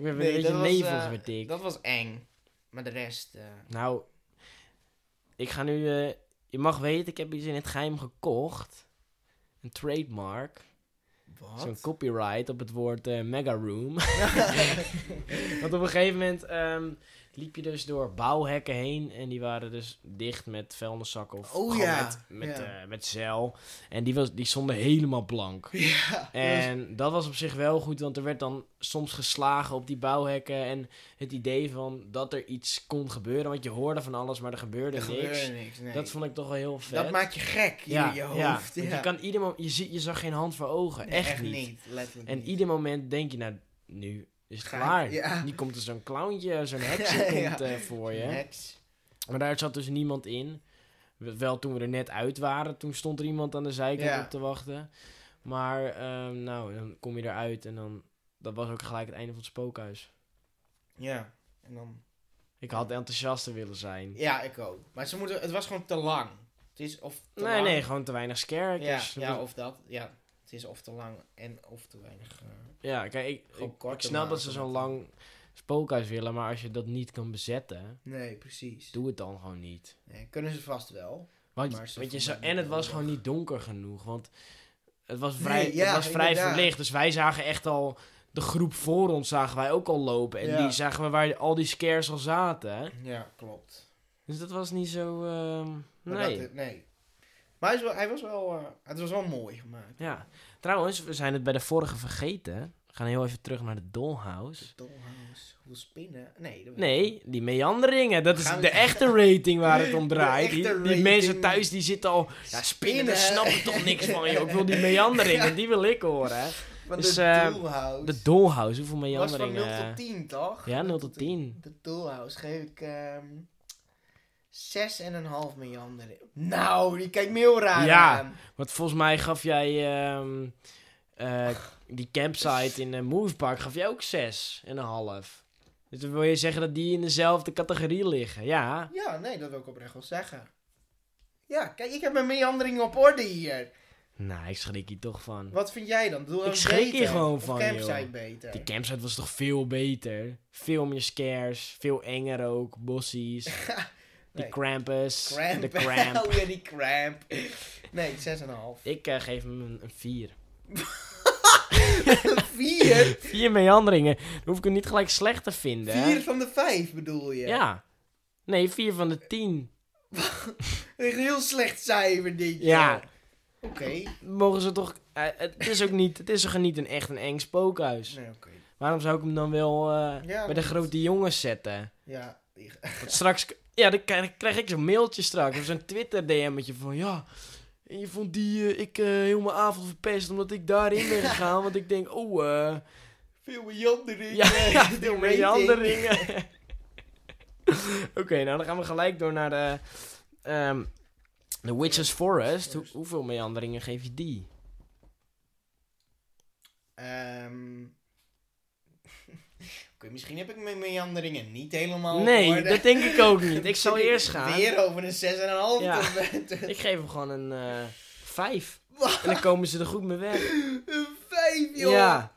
S1: heb een beetje
S2: was,
S1: nevel
S2: eh,
S1: getikt.
S2: dat was eng. Maar de rest... eh,
S1: Nou, ik ga nu... eh, je mag weten, ik heb iets in het geheim gekocht. Een trademark.
S2: wat?
S1: Zo'n copyright op het woord eh, mega room. Want op een gegeven moment ehm, liep je dus door bouwhekken heen. En die waren dus dicht met vuilniszakken of
S2: Oh
S1: gewoon
S2: ja,
S1: met, met,
S2: ja.
S1: eh, met zeil. En die, was, die stonden helemaal blank.
S2: Ja.
S1: En dat was op zich wel goed, want er werd dan soms geslagen op die bouwhekken. En het idee van dat er iets kon gebeuren. Want je hoorde van alles, maar er gebeurde
S2: er
S1: niks.
S2: gebeurde niks. nee.
S1: Dat vond ik toch wel heel vet.
S2: Dat maakt je gek in je hoofd.
S1: want
S2: ja.
S1: Je, kan ieder mom- je, zie- je zag geen hand voor ogen.
S2: Nee,
S1: echt, niet.
S2: letterlijk
S1: En
S2: niet.
S1: ieder moment denk je, nou, nu is het
S2: Ga ik-
S1: klaar.
S2: ja.
S1: Nu komt er zo'n clowntje, zo'n heksje
S2: Ja,
S1: komt
S2: ja.
S1: eh, voor je.
S2: Niks.
S1: Maar daar zat dus niemand in. We- Wel toen we er net uit waren, toen stond er iemand aan de zijkant
S2: Ja.
S1: op te wachten. Maar ehm, nou, dan kom je eruit en dan... Dat was ook gelijk het einde van het spookhuis.
S2: Ja. En dan...
S1: Ik had enthousiaster willen zijn.
S2: Ja, ik ook. Maar ze moeten... het was gewoon te lang. Het is of te
S1: nee,
S2: lang.
S1: nee, gewoon te weinig
S2: Ja,
S1: scarecasters.
S2: ja, of dat. Ja, het is of te lang en of te weinig. eh,
S1: Ja, kijk, ik,
S2: Gewoon
S1: ik,
S2: kort
S1: ik
S2: te
S1: snap dat
S2: maken
S1: ze zo'n
S2: met-
S1: lang spookhuis willen, maar als je dat niet kan bezetten,
S2: Nee, precies.
S1: doe het dan gewoon niet.
S2: Nee, kunnen ze vast wel.
S1: Want,
S2: Maar ze
S1: want je
S2: vonden
S1: zou-
S2: het
S1: en
S2: niet
S1: het was
S2: nodig.
S1: gewoon niet donker genoeg, want het was
S2: Nee,
S1: vrij,
S2: ja,
S1: het was vrij
S2: inderdaad.
S1: verlicht. Dus wij zagen echt al, de groep voor ons zagen wij ook al lopen. En
S2: Ja.
S1: die zagen we waar al die scares al zaten. hè.
S2: Ja, klopt.
S1: Dus dat was niet zo, ehm,
S2: Maar
S1: nee.
S2: dat- eh, nee. Maar hij, is wel, hij was wel, eh, het was wel mooi gemaakt.
S1: Ja, trouwens, we zijn het bij de vorige vergeten. We gaan heel even terug naar de Dollhouse.
S2: De dollhouse. Hoeveel spinnen? Nee. Dat
S1: Nee, die meanderingen. Dat is
S2: Gaan we-
S1: de echte rating waar het om
S2: De
S1: draait.
S2: echte
S1: Die, die
S2: rating.
S1: mensen thuis die zitten al... Ja, spinnen, daar snap ik toch niks van, joh. Ik wil die meanderingen, die wil ik horen.
S2: Want
S1: Dus,
S2: de
S1: eh,
S2: dollhouse
S1: De dollhouse, hoeveel eh,
S2: was van
S1: meanderingen.
S2: 0 tot 10, toch?
S1: Ja, 0 tot 10.
S2: De dollhouse geef ik... ehm 6,5 meander. Nou, die kijkt me heel raar
S1: Ja.
S2: aan.
S1: Want volgens mij gaf jij ehm, eh, die campsite in eh, Movepark gaf jij ook 6,5. Dus dan wil je zeggen dat die in dezelfde categorie liggen. Ja,
S2: Ja, nee, dat wil ik oprecht wel zeggen. Ja, kijk, ik heb mijn meandering op orde hier.
S1: nou, ik schrik hier toch van.
S2: Wat vind jij dan? Doe
S1: Ik schrik hier gewoon van,
S2: Of campsite
S1: joh.
S2: beter.
S1: Die campsite was toch veel beter? Veel meer scares, veel enger ook, bossies. Die
S2: Nee.
S1: Krampus,
S2: Cramp.
S1: de Cramp.
S2: oh ja, die cramp. Nee, 6,5.
S1: Ik eh, geef hem een- een 4.
S2: 4?
S1: 4 meanderingen, dan hoef ik hem niet gelijk slecht te vinden. hè?
S2: 4 van de 5 bedoel je?
S1: Ja. Nee, 4 van de 10.
S2: Een heel slecht cijfer dit
S1: Ja.
S2: joh. Oké.
S1: Mogen ze toch... eh, het is ook niet, het is toch niet een echt een eng spookhuis.
S2: Nee, oké.
S1: Waarom zou ik hem dan wel eh, bij de
S2: dat-
S1: grote jongens zetten?
S2: Ja. die-
S1: Want straks... Ja, dan krijg, krijg ik zo'n mailtje straks. Of zo'n Twitter-DM'tje van... Ja, en je vond die... eh, ik eh, heel mijn avond verpest omdat ik daarin ben gegaan. want ik denk... Oh, eh...
S2: Veel meandering.
S1: Ja,
S2: eh,
S1: ja
S2: de
S1: die
S2: rating.
S1: meanderingen. Oké, nou dan gaan we gelijk door naar de... ehm The Witch's Forest. Hoe- hoeveel meanderingen geef je die?
S2: Ehm. Oké, misschien heb ik mijn meanderingen niet helemaal op
S1: Nee,
S2: orde.
S1: dat denk ik ook niet. Ik zal eerst gaan.
S2: Oh, Weer over een 6,5
S1: Ja.
S2: tot met
S1: Ik geef hem gewoon een eh vijf. En dan komen ze er goed mee weg.
S2: een 5, joh.
S1: Ja.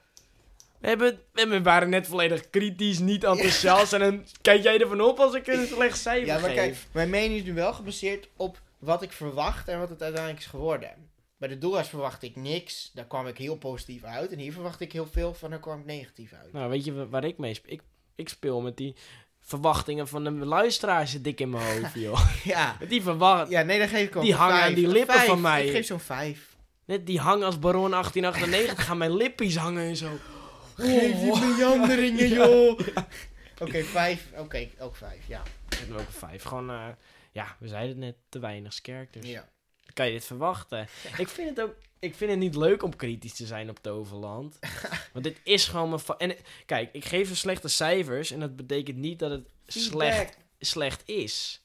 S1: We, hebben, we hebben- waren net volledig kritisch, niet enthousiast. En dan kijk jij ervan op als ik een slecht cijfer
S2: Ja, maar
S1: geef.
S2: kijk, mijn mening is nu wel gebaseerd op wat ik verwacht en wat het uiteindelijk is geworden. Bij de doelhuis verwacht ik niks, daar kwam ik heel positief uit. En hier verwacht ik heel veel, van daar kwam ik negatief uit.
S1: Nou, weet je wa- waar ik mee speel? Ik, ik speel met die verwachtingen van de luisteraar zit dik in mijn hoofd, joh.
S2: Ja,
S1: Met die verwacht...
S2: ja nee, daar geef ik ook
S1: Die
S2: een
S1: hangen aan
S2: vijf.
S1: die
S2: Een
S1: lippen
S2: vijf.
S1: van mij.
S2: Ik geef zo'n 5.
S1: Net die hang als baron 1898 gaan mijn lippies hangen en zo.
S2: Geef
S1: Oh.
S2: die meanderingen, joh. Oké, 5. Oké, ook 5, ja.
S1: Ik heb hem ook een vijf. Gewoon, eh, ja, we zeiden het net, te weinig dus- characters.
S2: ja.
S1: Kan je dit verwachten? Ik vind het ook... Ik vind het niet leuk om kritisch te zijn op Toverland. Want dit is gewoon mijn... fa- En eh, kijk, ik geef ze slechte cijfers. En dat betekent niet dat het slecht
S2: Feedback.
S1: slecht is.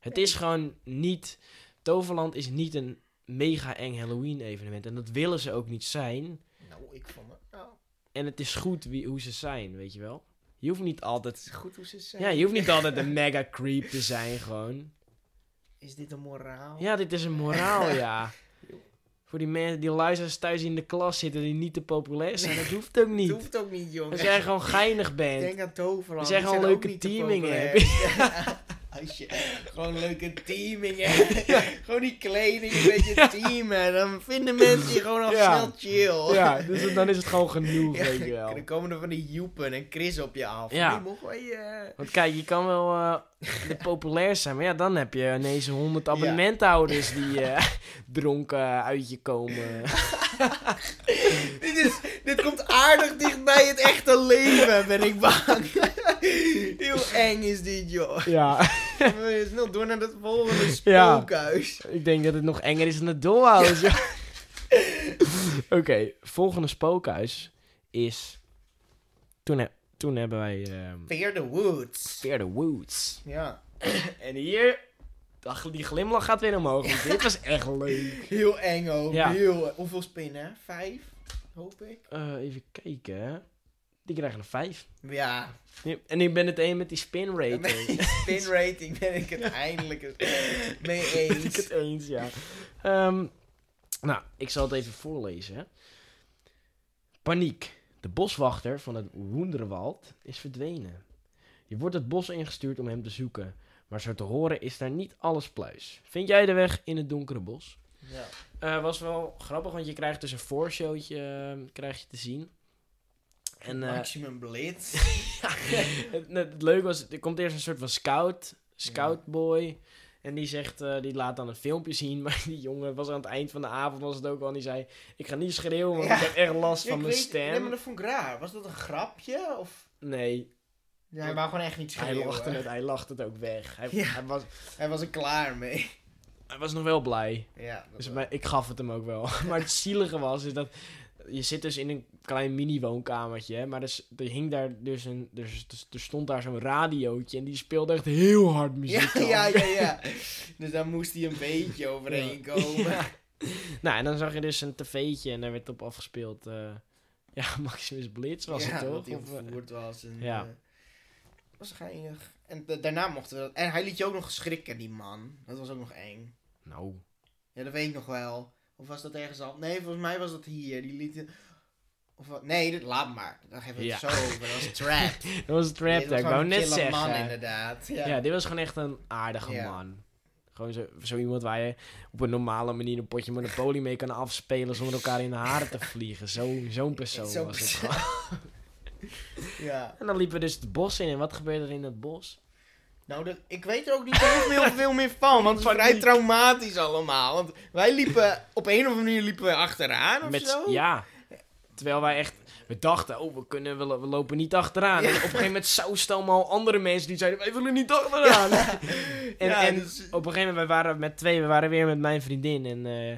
S1: Het is gewoon niet. Toverland is niet een mega eng Halloween evenement. En dat willen ze ook niet zijn.
S2: Nou, ik vond het... Nou,
S1: En het is goed wie, hoe ze zijn, weet je wel. Je hoeft niet altijd.
S2: het is goed hoe ze het zeggen.
S1: Ja, je hoeft niet altijd een mega creep te zijn, gewoon.
S2: Is dit een moraal?
S1: Ja, dit is een moraal, ja. Voor die mensen die luisteraars thuis in de klas zitten die niet te populair zijn, dat hoeft ook
S2: Dat
S1: niet.
S2: hoeft ook niet, jongen.
S1: Als jij gewoon geinig bent.
S2: Denk aan Toverland.
S1: Als jij
S2: die
S1: gewoon
S2: zijn ook
S1: leuke
S2: niet te
S1: teaming
S2: populair.
S1: hebt.
S2: Als je gewoon leuke teaming hebt. Gewoon die kleding, een beetje teamen. Dan vinden mensen je gewoon al
S1: Ja.
S2: snel chill.
S1: Ja, dus het- dan is het gewoon genoeg, weet je
S2: Ja,
S1: wel.
S2: dan komen er van die joepen en Chris op je af.
S1: Ja.
S2: Die mogen wij, eh,
S1: Want kijk, je kan wel eh, de populair zijn, maar ja, dan heb je ineens 100 abonnementhouders die eh, dronken uit je komen.
S2: dit, is, dit komt aardig dichtbij het echte leven, ben ik bang. Heel eng is dit, joh.
S1: Ja,
S2: We snel door naar het volgende
S1: Ja.
S2: spookhuis.
S1: ik denk dat het nog enger is dan het dollhouse. Oké, volgende spookhuis is... Toen, he- toen hebben wij ehm
S2: Fear the Woods.
S1: Fear the Woods.
S2: Ja.
S1: En hier, ach, die glimlach gaat weer omhoog. want Dit was echt leuk.
S2: Heel eng ook.
S1: Ja.
S2: Heel, hoeveel spinnen? Vijf, hoop ik.
S1: Eh, even kijken. Die krijgen er vijf.
S2: Ja,
S1: En ik ben het een met die spin
S2: Ja,
S1: rating.
S2: met die spin rating ben ik het eindelijk eens mee
S1: Ben ik
S2: eens.
S1: het eens, ja. Ehm, nou, ik zal het even voorlezen. hè. Paniek. De boswachter van het Woenderwald is verdwenen. Je wordt het bos ingestuurd om hem te zoeken. Maar zo te horen is daar niet alles pluis. Vind jij de weg in het donkere bos?
S2: Ja.
S1: Eh, was wel grappig, want je krijgt dus een voorshowtje eh, krijg je te zien. En eh,
S2: Maximum Blitz.
S1: het, het leuke was, er komt eerst een soort van scout, scoutboy. En die zegt, eh, die laat dan een filmpje zien. Maar die jongen was aan het eind van de avond, was het ook al. En die zei, ik ga niet schreeuwen, want
S2: Ja.
S1: ik heb echt last
S2: Ja,
S1: van
S2: ik
S1: mijn
S2: weet- Nee, maar
S1: stem.
S2: dat vond ik raar. Was dat een grapje? Of...
S1: Nee,
S2: Ja, hij wou gewoon echt niet
S1: hij
S2: schreeuwen.
S1: lachte het, hij lachte het ook weg. Hij,
S2: Ja.
S1: hij, was,
S2: Hij was er klaar mee.
S1: hij was nog wel blij.
S2: Ja, dat
S1: Dus
S2: wel.
S1: maar ik gaf het hem ook wel. Maar het zielige was, is dat... Je zit dus in een klein mini-woonkamertje, hè, maar er, s- er hing daar dus een... Dus, dus- er stond daar zo'n radiootje en die speelde echt heel hard muziek.
S2: ja,
S1: af.
S2: ja, ja, ja. Dus daar moest hij een beetje overheen komen.
S1: Ja. Nou, en dan zag je dus een tv'tje en daar werd op afgespeeld. eh, ja, Maximus Blitz was
S2: ja,
S1: het
S2: dat
S1: toch?
S2: hij
S1: Of, eh,
S2: ontvoerd was. En,
S1: ja.
S2: eh, was geinig. En da- daarna mochten we dat... En hij liet je ook nog schrikken, die man. Dat was ook nog eng.
S1: nou,
S2: Ja, dat weet ik nog wel. Of was dat ergens al? Nee, volgens mij was dat hier. Die lieten... Of wat? Nee, dat, laat maar. Daar geven we het
S1: Ja.
S2: zo over. Dat was Trap.
S1: dat was
S2: Dit
S1: Trapped.
S2: was
S1: Ik
S2: gewoon
S1: wou
S2: een
S1: net
S2: chille
S1: zeggen.
S2: man, inderdaad. Ja.
S1: ja. dit was gewoon echt een aardige
S2: Ja.
S1: man. Gewoon zo, zo iemand waar je op een normale manier een potje Monopoly mee kan afspelen zonder elkaar in de haren te vliegen. Zo- Zo'n persoon
S2: Zo'n
S1: was het
S2: persoon.
S1: gewoon.
S2: Ja.
S1: En dan liepen we dus het bos in. En wat gebeurde er in dat bos?
S2: Nou, dat, ik weet er ook niet heel veel, veel meer van. Want het is
S1: Paniek.
S2: vrij traumatisch allemaal. Want wij liepen... Op een of andere manier liepen we achteraan of Oh, zo.
S1: ja. Terwijl wij echt... We dachten, oh, we, kunnen, we, lo- we lopen niet achteraan.
S2: Ja.
S1: En op een gegeven moment sausten allemaal andere mensen die zeiden... Wij willen niet achteraan. En,
S2: Ja,
S1: en
S2: dus-
S1: op een gegeven moment, we waren met twee, we waren weer met mijn vriendin en eh,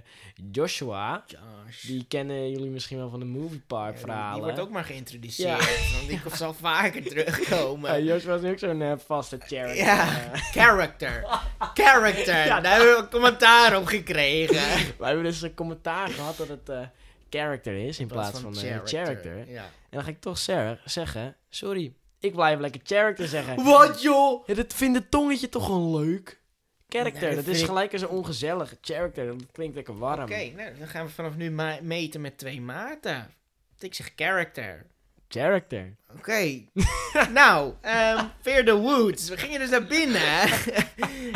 S1: Joshua.
S2: Josh.
S1: Die kennen jullie misschien wel van de Movie Park
S2: Ja, die- Ah, die,
S1: verhalen.
S2: wordt ook maar geïntroduceerd. Want ik zal vaker terugkomen.
S1: Ja, Joshua is ook zo'n eh, vaste character.
S2: Ja.
S1: Eh,
S2: Character. Character.
S1: Ja,
S2: Daar hebben we een commentaar op gekregen.
S1: wij hebben dus een commentaar gehad dat het eh, character is in plaats van, eh, character.
S2: Ja.
S1: En dan ga ik toch ser- zeggen, sorry, ik blijf lekker character zeggen.
S2: Wat joh?
S1: Ja, dat vindt het tongetje toch gewoon leuk. Character,
S2: Nee, dat
S1: dat,
S2: vind
S1: is
S2: ik-
S1: gelijk eens een ongezellig. Character, dat klinkt lekker warm.
S2: Oké, nou, dan gaan we vanaf nu ma- meten met twee maten. Want Ik zeg character.
S1: Character.
S2: Oké. nou, ehm Fear the Woods. We gingen dus naar binnen.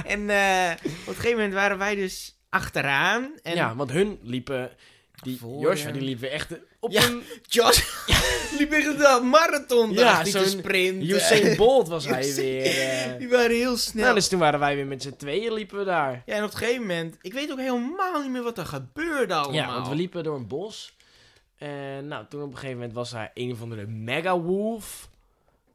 S2: en eh, op een gegeven moment waren wij dus achteraan. En
S1: ja, want hun liepen. Die
S2: Voor,
S1: Joshua
S2: ja.
S1: die liep weer echt op
S2: Ja.
S1: een.
S2: Josh liep echt de marathon
S1: Ja,
S2: ja, te
S1: zo'n
S2: sprinten.
S1: Usain Bolt was hij
S2: Usain-
S1: weer. eh.
S2: Die waren heel snel.
S1: Nou, dus toen waren wij weer met z'n tweeën liepen we daar.
S2: Ja, en op een gegeven moment, ik weet ook helemaal niet meer wat er gebeurde allemaal.
S1: Ja, want we liepen door een bos. En nou, toen op een gegeven moment was daar een of andere mega wolf.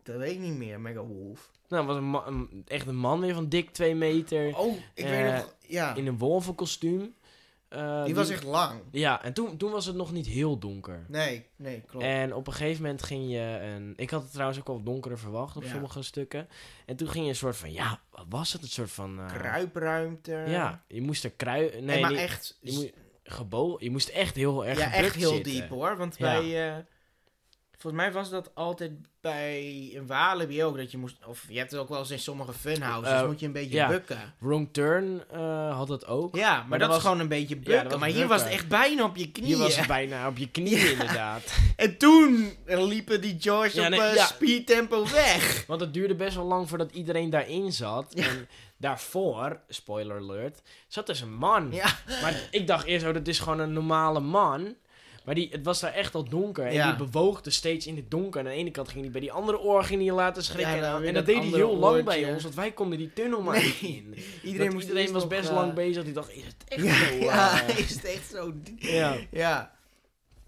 S2: Dat weet ik niet meer, Mega Wolf.
S1: Nou, was een ma- een- echt een man weer van dik twee meter.
S2: Oh, ik
S1: Eh,
S2: weet nog, ja.
S1: In een wolvenkostuum. Eh,
S2: die was echt lang.
S1: Ja, en toen, toen was het nog niet heel donker.
S2: Nee, nee, klopt.
S1: En op een gegeven moment ging je een... Ik had het trouwens ook al donkerder verwacht op
S2: Ja.
S1: sommige stukken. En toen ging je een soort van... Ja, wat was het? Een soort van... eh,
S2: Kruipruimte.
S1: Ja, je moest er krui...
S2: Nee,
S1: Nee,
S2: maar
S1: niet-
S2: echt,
S1: je, moest, gebo- je moest echt heel erg
S2: ja, echt
S1: gedrukt
S2: heel
S1: zitten.
S2: diep hoor. Want
S1: Ja.
S2: bij, eh, Volgens mij was dat altijd bij een Walibi ook. Dat je moest, of je hebt het ook wel eens in sommige funhouses.
S1: Eh,
S2: moet je een beetje
S1: ja.
S2: bukken.
S1: Wrong Turn eh, had dat ook.
S2: Ja, maar,
S1: Maar
S2: dat
S1: dat
S2: is
S1: was-
S2: gewoon een beetje
S1: dat
S2: bukken.
S1: was
S2: maar hier was het
S1: bukken.
S2: echt bijna op je knieën.
S1: Je was bijna op je knieën,
S2: Ja.
S1: inderdaad.
S2: En toen liepen die George
S1: Ja,
S2: op
S1: nee,
S2: eh,
S1: ja.
S2: speedtempo weg.
S1: Want het duurde best wel lang voordat iedereen daarin zat. En daarvoor, spoiler alert, zat dus een man.
S2: Ja.
S1: Maar ik dacht eerst, oh, dat is gewoon een normale man. Maar die, het was daar echt al donker. En
S2: Ja.
S1: die bewoogde steeds in het donker. En aan de ene kant ging hij bij die andere oor ging hij laten schrikken.
S2: Ja, dan weer
S1: en dat
S2: dat
S1: deed hij
S2: andere
S1: heel lang
S2: oortje.
S1: bij ons. Want wij konden die tunnel maar
S2: Nee.
S1: niet in. Want
S2: Iedereen, moest
S1: iedereen
S2: eerst
S1: was
S2: nog,
S1: best
S2: eh,
S1: lang bezig. Die dacht, is het echt
S2: Ja,
S1: zo? eh,
S2: ja, is het echt zo. di-
S1: ja.
S2: Ja.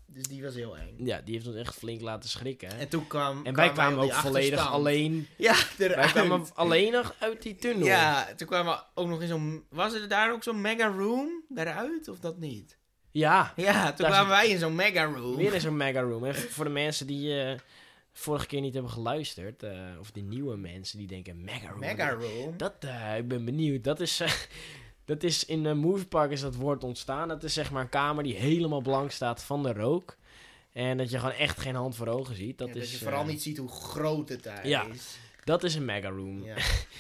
S2: Dus die was heel eng.
S1: Ja, die heeft ons echt flink laten schrikken. En,
S2: En toen kwam.
S1: wij
S2: kwamen
S1: kwamen
S2: op
S1: ook
S2: die
S1: volledig
S2: achterstand.
S1: alleen.
S2: Ja,
S1: Wij
S2: eruit.
S1: kwamen alleen nog uit die tunnel.
S2: Ja, toen kwamen we ook nog in zo'n. Was er daar ook zo'n mega room daaruit of dat niet?
S1: Ja,
S2: Ja, toen
S1: Daar
S2: kwamen wij in zo'n mega room.
S1: weer in zo'n mega room. En voor de mensen die eh, vorige keer niet hebben geluisterd, eh, of die nieuwe mensen die denken mega room.
S2: Mega room.
S1: Dat, eh, ik ben benieuwd. Dat is, eh, dat is in een moviepark is dat woord ontstaan. Dat is zeg maar een kamer die helemaal blank staat van de rook. En dat je gewoon echt geen hand voor ogen ziet. Dat,
S2: Ja,
S1: is,
S2: je vooral
S1: eh,
S2: niet ziet hoe groot het daar
S1: ja. Mm.
S2: is.
S1: dat is een mega room.
S2: Ja.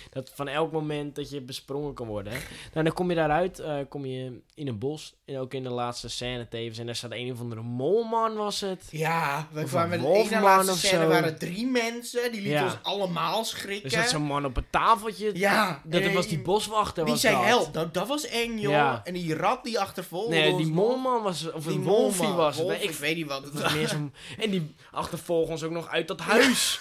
S1: Dat van elk moment dat je besprongen kan worden. hè. Nou, dan kom je daaruit, eh, kom je in een bos. En ook in de laatste scène tevens. En daar staat een of andere molman was het.
S2: Ja, we
S1: Of
S2: kwamen
S1: een
S2: in de
S1: wolfman
S2: laatste
S1: of
S2: scène
S1: zo.
S2: waren drie mensen. Die lieten
S1: Ja.
S2: ons allemaal
S1: Er
S2: schrikken.
S1: zat zo'n man op het tafeltje.
S2: ja.
S1: Dat
S2: en
S1: was die boswachter.
S2: Die
S1: was
S2: zei
S1: dat.
S2: help. Nou, dat was eng, joh.
S1: Ja.
S2: En die rat die achtervolgde
S1: Nee,
S2: ons
S1: die
S2: nog.
S1: molman was Of
S2: Die
S1: een wolfie
S2: molman.
S1: was het.
S2: Wolf,
S1: Nee,
S2: ik,
S1: ik
S2: weet niet wat het
S1: Dat
S2: was.
S1: was meer zo'n- En die achtervolgen ons ook nog uit dat huis.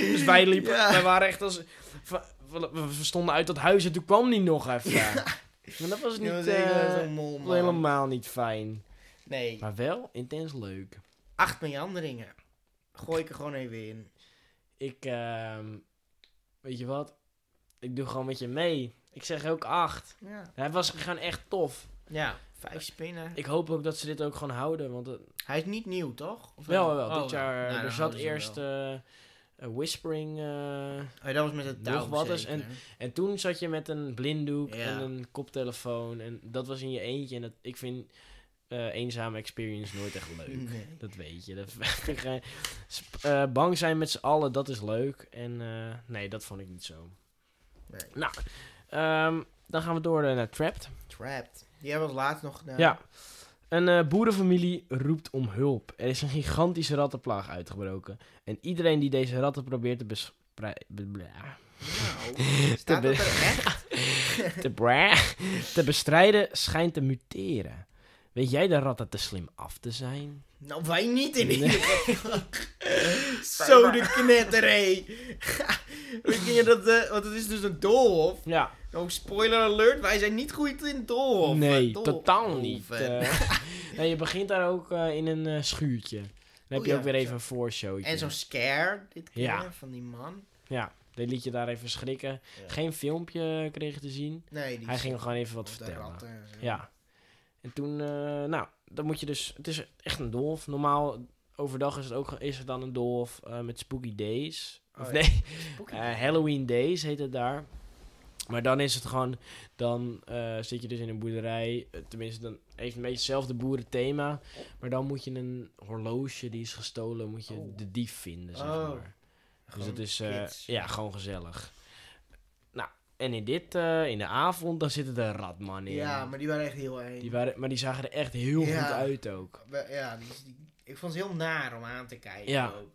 S1: dus wij liepen,
S2: Ja.
S1: wij waren echt als... va- We we stonden uit dat huis en toen kwam die nog even. Maar dat was niet
S2: Dat
S1: eh,
S2: was helemaal zo'n molman.
S1: helemaal niet fijn.
S2: Nee,
S1: Maar wel intens leuk.
S2: acht meanderingen. Gooi ik er gewoon even in.
S1: Ik, ehm, weet je wat? Ik doe gewoon met je mee. Ik zeg ook acht.
S2: Ja,
S1: Hij was gewoon echt tof.
S2: ja vijf spinnen.
S1: Ik hoop ook dat ze dit ook gewoon houden. Want het-
S2: Hij is niet nieuw, toch? Of
S1: wel, wel,
S2: Oh,
S1: dit
S2: nou,
S1: jaar.
S2: dan
S1: er
S2: houden
S1: zat
S2: ze hem
S1: eerst
S2: wel.
S1: eh, een Whispering. eh,
S2: Oh, dat was met het
S1: nog
S2: touw
S1: wat eens
S2: zeker.
S1: En toen zat je met een blinddoek
S2: Ja.
S1: en een koptelefoon. En dat was in je eentje. En dat, ik vind eh, eenzame experience nooit echt leuk.
S2: Nee.
S1: Dat weet je. Dat vind ik geen- Sp- eh, bang zijn met z'n allen, dat is leuk. En eh, nee, dat vond ik niet zo.
S2: Nee.
S1: Nou, ehm, dan gaan we door eh, naar Trapped.
S2: Trapped. Die hebben we als laatst nog eh, gedaan.
S1: Ja. Een eh, boerenfamilie roept om hulp. Er is een gigantische rattenplaag uitgebroken. En iedereen die deze ratten probeert te bespreiden...
S2: Nou, staat dat
S1: be-
S2: er echt?
S1: te, bra- te bestrijden schijnt te muteren. Weet jij de ratten te slim af te zijn?
S2: Nou, wij niet in
S1: Nee.
S2: ieder geval. Zo de knetter, hé. Weet je dat, eh, want het is dus een doolhof.
S1: Ja,
S2: Nou, spoiler alert, wij zijn niet goed in doolhof.
S1: nee,
S2: Eh, doolhof-
S1: totaal niet.
S2: doolhoven.
S1: eh. nee, je begint daar ook eh, in een eh, schuurtje. Dan heb
S2: Oh
S1: je
S2: ja,
S1: ook weer even
S2: zo.
S1: een voorshowtje.
S2: en zo'n scare, dit
S1: eh.
S2: keer,
S1: Ja.
S2: van die man.
S1: Ja, die liet je daar even schrikken.
S2: Ja.
S1: Geen filmpje kreeg je te zien.
S2: Nee, die
S1: Hij ging gewoon even wat
S2: de
S1: vertellen.
S2: ratten en zo.
S1: Ja. En toen, eh, nou, dan moet je dus... Het is echt een dolf. Normaal, overdag is het ook is het dan een dolf eh, met spooky days.
S2: Oh
S1: of
S2: ja.
S1: nee,
S2: Spooky.
S1: Eh, Halloween Days heet het daar. Maar dan is het gewoon, dan eh, zit je dus in een boerderij. Eh, Tenminste, dan heeft een beetje hetzelfde boerenthema. Maar dan moet je een horloge die is gestolen, moet je
S2: Oh.
S1: de dief vinden, zeg
S2: Oh.
S1: maar. Dus
S2: Gewoon
S1: dat is, eh,
S2: kids.
S1: ja, gewoon gezellig. Nou, en in dit, eh, in de avond, dan zitten de ratmannen in.
S2: Ja, maar die waren echt heel eng.
S1: die waren, maar die zagen er echt heel
S2: Ja.
S1: goed uit ook.
S2: We- Ja, die, die- ik vond het heel naar om aan te kijken.
S1: Ja.
S2: Ook.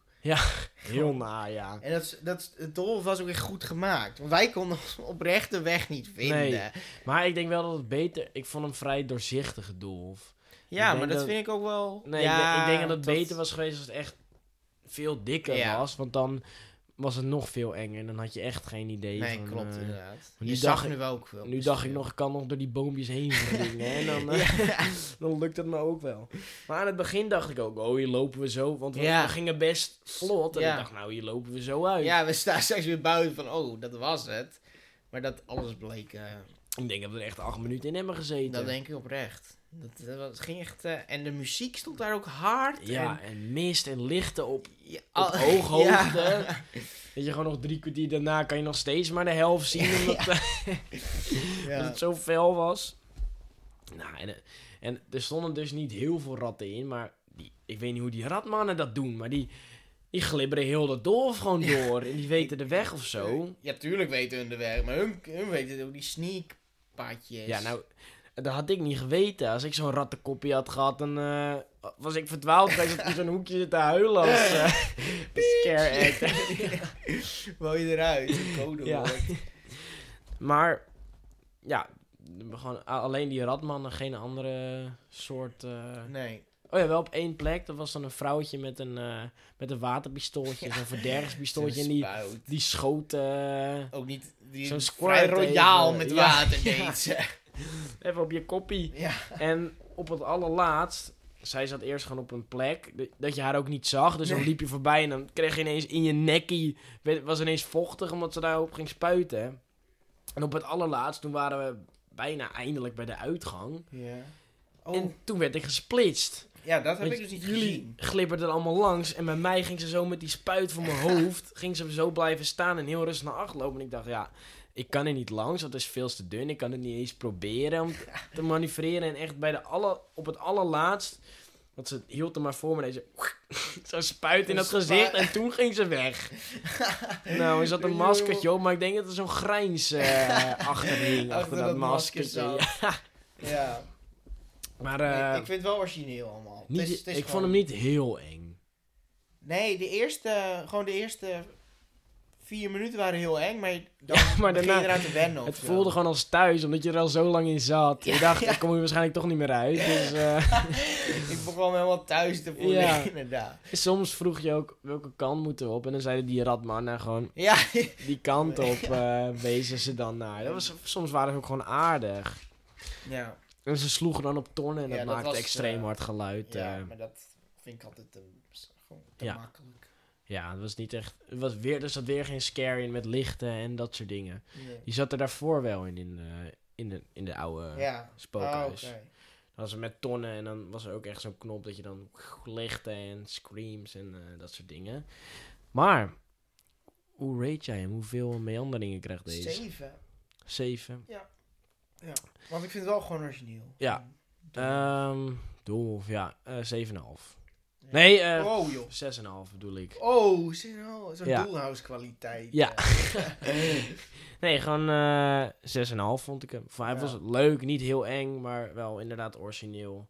S1: Heel na, ja.
S2: En dat, is- dat, is- het dolf was ook echt goed gemaakt. Want wij konden ons oprecht de weg niet vinden.
S1: Nee. Maar ik denk wel dat het beter... Ik vond hem vrij doorzichtige dolf. Ik
S2: Ja,
S1: denk
S2: maar dat,
S1: dat-
S2: vind ik ook wel.
S1: Nee,
S2: ja,
S1: ik, denk- ik denk dat het beter was geweest als het echt veel dikker
S2: Ja.
S1: was. Want dan was het nog veel enger. En dan had je echt geen idee.
S2: Nee,
S1: van,
S2: klopt
S1: eh,
S2: inderdaad.
S1: nu
S2: Je
S1: dacht
S2: zag
S1: ik-
S2: nu ook wel.
S1: nu dacht ik nog, ik kan nog door die boompjes heen vliegen. hè, en dan, eh, dan lukt het me ook wel. Maar aan het begin dacht ik ook, oh hier lopen we zo. Want we,
S2: Ja.
S1: we gingen best vlot. En
S2: Ja.
S1: ik dacht, nou hier lopen we zo uit.
S2: Ja, we staan straks weer buiten van, oh, dat was het. Maar dat alles bleek, eh,
S1: Ik denk dat we er echt acht minuten in hebben gezeten.
S2: dat denk ik oprecht. Dat, dat, was- ging echt, eh, en de muziek stond daar ook hard.
S1: ja,
S2: en,
S1: en mist en lichten op,
S2: ja,
S1: op
S2: al-
S1: ooghoogte.
S2: Ja.
S1: Dat je gewoon nog drie kwartier daarna kan je nog steeds maar de helft zien. Omdat,
S2: Ja.
S1: Dat het zo fel was. Nou, en, eh, en er stonden dus niet heel veel ratten in, maar die, ik weet niet hoe die ratmannen dat doen, maar die, Die glibberen heel dat dolf gewoon door. En die weten de weg of zo.
S2: Ja, tuurlijk weten hun de weg, maar hun, hun weten ook die sneakpaadjes.
S1: Ja, nou, dat had ik niet geweten. Als ik zo'n rattenkoppie had gehad, dan eh, was ik verdwaald. Dan zat ik in zo'n hoekje zitten huilen als eh, een scare act.
S2: Wou je eruit, een code
S1: Ja.
S2: woord.
S1: Maar, ja, gewoon a- alleen die ratmannen, geen andere soort... eh,
S2: Nee.
S1: Oh ja, wel op één plek. Dat was dan een vrouwtje met een, eh, met een waterpistooltje, zo'n verderfspistooltje. En die,
S2: Spuit.
S1: die schoot... eh,
S2: Ook niet... Die
S1: Zo'n
S2: vrij
S1: squirt
S2: royaal
S1: even.
S2: met
S1: Ja.
S2: water
S1: Ja.
S2: deed ze.
S1: even op je koppie.
S2: Ja.
S1: En op het allerlaatst, zij zat eerst gewoon op een plek d- dat je haar ook niet zag. Dus dan
S2: Nee.
S1: liep je voorbij en dan kreeg je ineens in je nekkie, werd- was ineens vochtig omdat ze daarop ging spuiten. En op het allerlaatst, toen waren we bijna eindelijk bij de uitgang.
S2: Ja. Oh,
S1: En toen werd ik gesplitst.
S2: ja, dat heb
S1: Want
S2: ik dus niet
S1: jullie
S2: gezien.
S1: glibberden er allemaal langs en bij mij ging ze zo met die spuit voor mijn hoofd, ging ze zo blijven staan en heel rustig naar achter lopen. En ik dacht, ja, ik kan er niet langs, dat is veel te dun. Ik kan het niet eens proberen om te manoeuvreren. En echt bij de alle, op het allerlaatst, want ze hield er maar voor me deze zo'n spuit in
S2: Een
S1: het
S2: spuit.
S1: gezicht en toen ging ze weg. nou, er zat een maskertje op, maar ik denk dat er zo'n grijns eh achter hing, achter,
S2: Achter
S1: dat,
S2: dat masker
S1: maskertje.
S2: zat.
S1: Ja.
S2: Ja.
S1: Maar
S2: ik,
S1: eh,
S2: ik vind het wel origineel allemaal.
S1: niet,
S2: Het is- het is
S1: ik
S2: gewoon-
S1: vond hem niet heel eng.
S2: Nee, de eerste, gewoon de eerste vier minuten waren heel eng, maar dan
S1: maar
S2: begin
S1: daarna-
S2: je eraan te wennen. of
S1: Het
S2: zo.
S1: voelde gewoon als thuis, omdat je er al zo lang in zat. Je dacht, ik kom hier waarschijnlijk toch niet meer uit. Dus, eh,
S2: Ik begon me helemaal thuis te voelen,
S1: Ja.
S2: inderdaad.
S1: soms vroeg je ook, welke kant moeten we op? En dan zeiden die ratmannen gewoon,
S2: Ja,
S1: die kant op eh, wezen ze dan naar. Dat was, soms waren ze ook gewoon aardig.
S2: ja,
S1: En ze sloegen dan op tonnen en
S2: Ja,
S1: dat,
S2: dat
S1: maakte
S2: was,
S1: extreem
S2: eh,
S1: hard geluid. eh.
S2: ja,
S1: Ja,
S2: maar dat vind ik altijd te, gewoon te
S1: Ja.
S2: makkelijk.
S1: het was niet echt... Het was weer, er zat weer geen scare in met lichten en dat soort dingen.
S2: Nee.
S1: Die zat er daarvoor wel in, in, de- in, de, in de oude
S2: Ja,
S1: spookhuis.
S2: Ah, oké.
S1: Dan was het met tonnen en dan was er ook echt zo'n knop dat je dan lichten en screams en eh, dat soort dingen. Maar, hoe rate jij hem? Hoeveel meanderingen krijgt deze?
S2: Zeven.
S1: Zeven.
S2: Want ik vind het wel gewoon origineel.
S1: Ja. Ehm Dolf, ja, eh, 7,5.
S2: Ja.
S1: Nee, eh
S2: oh joh.
S1: 6,5 bedoel ik.
S2: Oh, zie je wel, zo'n eh.
S1: Ja.
S2: doelhouse kwaliteit.
S1: Ja. Nee, gewoon eh 6,5 vond ik hem. Voor Hij
S2: Ja.
S1: was leuk, niet heel eng, maar wel inderdaad origineel.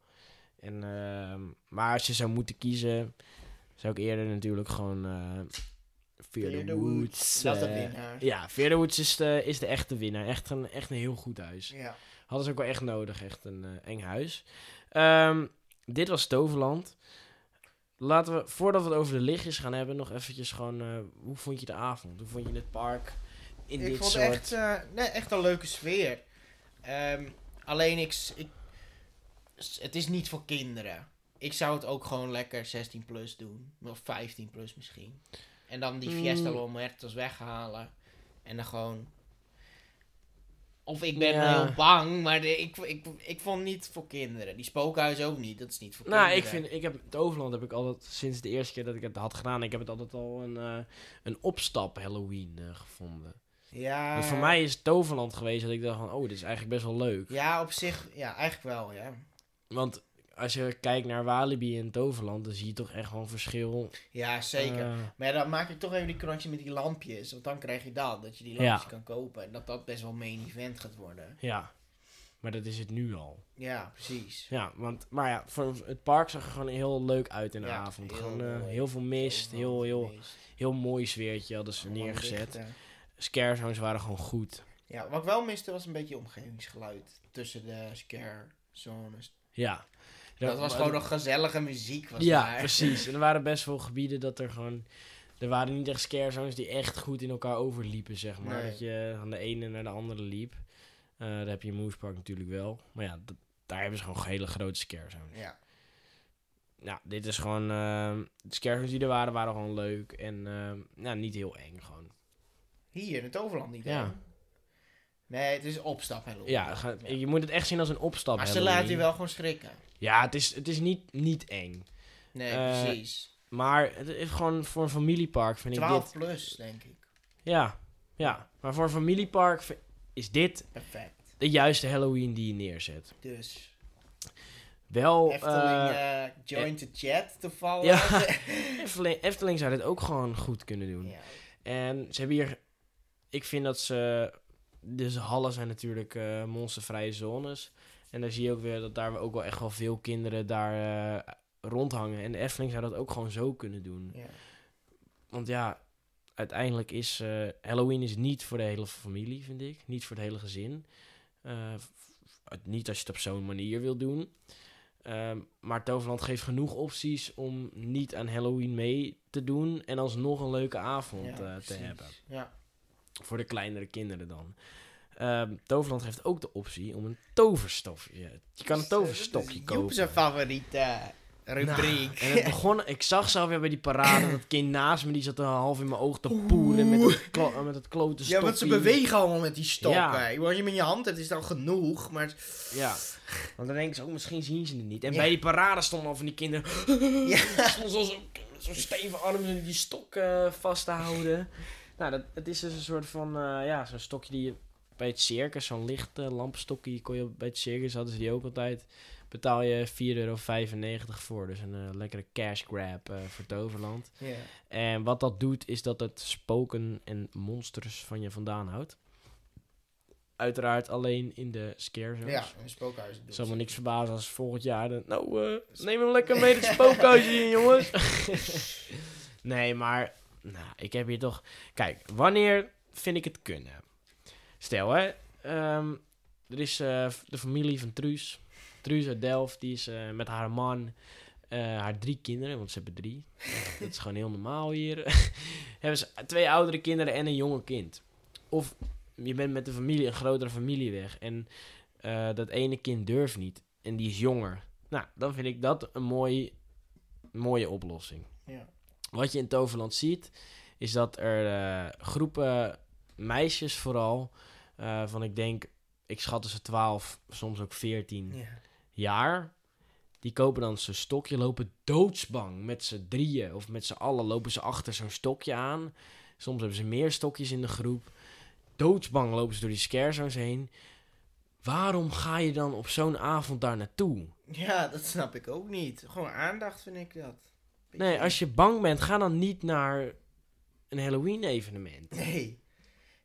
S1: En, ehm, maar als je zou moeten kiezen, zou ik eerder natuurlijk gewoon eh Fear, the Woods.
S2: Dat is de
S1: eh,
S2: winnaar.
S1: ja, Fear the Woods is de, is de echte winnaar. Echt een, echt een heel goed huis.
S2: Ja.
S1: Hadden ze ook wel echt nodig, echt een eh, eng huis. Ehm, dit was Toverland. Laten we, voordat we het over de lichtjes gaan hebben, nog eventjes gewoon... eh, hoe vond je de avond? Hoe vond je het park? In
S2: ik
S1: dit
S2: vond
S1: soort...
S2: echt, eh, nee, echt een leuke sfeer. Ehm, alleen ik, s- ik. s- Het is niet voor kinderen. Ik zou het ook gewoon lekker 16 plus doen. Of 15 plus misschien. En dan die
S1: Mm.
S2: Fiesta Los Muertos weghalen. En dan gewoon. Of ik ben
S1: Ja.
S2: heel bang, maar de- ik, ik, ik vond het niet voor kinderen. Die spookhuis ook niet, dat is niet voor
S1: Nou, ik
S2: kinderen.
S1: vind, ik heb het Overland heb ik altijd sinds de eerste keer dat ik het had gedaan, ik heb het altijd al een, eh, een opstap Halloween eh, gevonden.
S2: Ja,
S1: Want voor mij is Toverland geweest dat ik dacht van, oh, dit is eigenlijk best wel leuk.
S2: ja, op zich, ja, eigenlijk wel, ja.
S1: Want als je kijkt naar Walibi en Toverland, dan zie je toch echt gewoon verschil.
S2: Ja, zeker.
S1: Eh,
S2: Maar ja, dan maak ik toch even die connectie met die lampjes. Want dan krijg je dat, dat je die
S1: Ja.
S2: lampjes kan kopen. En dat dat best wel main event gaat worden.
S1: ja, maar dat is het nu al.
S2: Ja, precies.
S1: Ja, want, maar ja, voor het park zag er gewoon heel leuk uit in de
S2: Ja,
S1: avond.
S2: heel
S1: gewoon eh,
S2: mooi.
S1: heel veel mist, heel, heel, heel mooi sfeertje hadden ze neergezet.
S2: Lichten.
S1: Scare zones waren gewoon goed.
S2: Ja, wat ik wel miste was een beetje omgevingsgeluid. Tussen de scare zones.
S1: Ja.
S2: Dat was
S1: maar-
S2: gewoon nog gezellige muziek. Was
S1: ja,
S2: daar.
S1: precies. En er waren best veel gebieden dat er gewoon... Er waren niet echt scare zones die echt goed in elkaar overliepen, zeg maar.
S2: Nee.
S1: Dat je van de ene naar de andere liep. Eh daar heb je in Moose Park natuurlijk wel. Maar ja, dat- daar hebben ze gewoon hele grote scare zones.
S2: Ja.
S1: Nou, dit is gewoon... ehm de scare zones die er waren, waren gewoon leuk. En ehm, nou, niet heel eng, gewoon.
S2: Hier in het overland niet. hè?
S1: Ja.
S2: Nee, het is opstap Halloween.
S1: Ja, ga- je moet het echt zien als een opstap.
S2: Maar ze laten je
S1: Halloween.
S2: wel gewoon schrikken.
S1: Ja, het is, het is niet, niet eng.
S2: Nee,
S1: Eh,
S2: precies.
S1: Maar het is gewoon voor een familiepark, vind ik dit...
S2: 12 plus, denk ik.
S1: Ja, ja. Maar voor een familiepark v- is dit
S2: Perfect.
S1: de juiste Halloween die je neerzet.
S2: Dus,
S1: wel...
S2: Efteling
S1: eh,
S2: eh, joint the chat te vallen.
S1: Ja. Efteling, Efteling zou dit ook gewoon goed kunnen doen. En ze hebben hier... Ik vind dat ze... Dus hallen zijn natuurlijk eh, monstervrije zones. En daar zie je ook weer dat daar ook wel echt wel veel kinderen daar eh, rondhangen. En de Efteling zou dat ook gewoon zo kunnen doen.
S2: Ja.
S1: Want ja, uiteindelijk is eh, Halloween is niet voor de hele familie, vind ik. Niet voor het hele gezin. Eh, f- f- niet als je het op zo'n manier wil doen. Ehm, maar Toverland geeft genoeg opties om niet aan Halloween mee te doen. En alsnog een leuke avond
S2: Ja,
S1: eh, te
S2: precies.
S1: hebben.
S2: Ja.
S1: Voor de kleinere kinderen dan. Ehm, Toverland heeft ook de optie om een toverstofje. Je kan een toverstokje
S2: kopen. Dus, eh, Joep
S1: kopen. Nou,
S2: zijn favoriete eh, rubriek.
S1: En het begon, ik zag ze alweer bij die parade, dat kind naast me, die zat er half in mijn oog te poeren met het, klo- met het klote
S2: ja, want ze
S1: stoppie.
S2: bewegen allemaal met die stokken.
S1: Ja.
S2: Ik bedoel, Als je hem in je hand hebt, is het al genoeg. Maar
S1: Ja, want dan denken ze ook, oh, misschien zien ze het niet. En
S2: Ja.
S1: bij die parade stonden al van die kinderen,
S2: ja,
S1: stonden ze al zo, zo stevige armen en die stok eh, vast te houden. Nou, dat, het is dus een soort van, eh, ja, zo'n stokje die je bij het circus, zo'n lichte lampstokje, kon je bij het circus, hadden ze die ook altijd. Betaal je 4,95 euro voor, dus een eh, lekkere cash grab eh, voor Toverland.
S2: ja.
S1: En wat dat doet, is dat het spoken en monsters van je vandaan houdt. Uiteraard alleen in de scare zones.
S2: ja een spookhuis.
S1: Zal me niks verbazen als volgend jaar... dan- nou, eh, neem hem lekker mee het spookhuisje in, jongens. nee, maar... Nou, ik heb hier toch... Kijk, wanneer vind ik het kunnen? Stel, hè. ehm, er is eh, de familie van Truus. Truus uit Delft. Die is eh, met haar man... eh, haar drie kinderen, want ze hebben drie. Dat is gewoon heel normaal hier. hebben ze twee oudere kinderen en een jonge kind. Of je bent met de familie, een grotere familie weg. En eh, dat ene kind durft niet. En die is jonger. Nou, dan vind ik dat een mooi, mooie oplossing.
S2: Ja.
S1: Wat je in Toverland ziet, is dat er eh, groepen meisjes vooral... eh, van ik denk, ik schat tussen 12, soms ook 14
S2: Ja.
S1: jaar. Die kopen dan zo'n stokje, lopen doodsbang met z'n drieën of met z'n allen lopen ze achter zo'n stokje aan. Soms hebben ze meer stokjes in de groep. Doodsbang lopen ze door die scare zones heen. Waarom ga je dan op zo'n avond daar naartoe?
S2: ja, dat snap ik ook niet. Gewoon aandacht vind ik dat. Beetje-
S1: Nee, als je bang bent, ga dan niet naar een Halloween-evenement.
S2: Nee.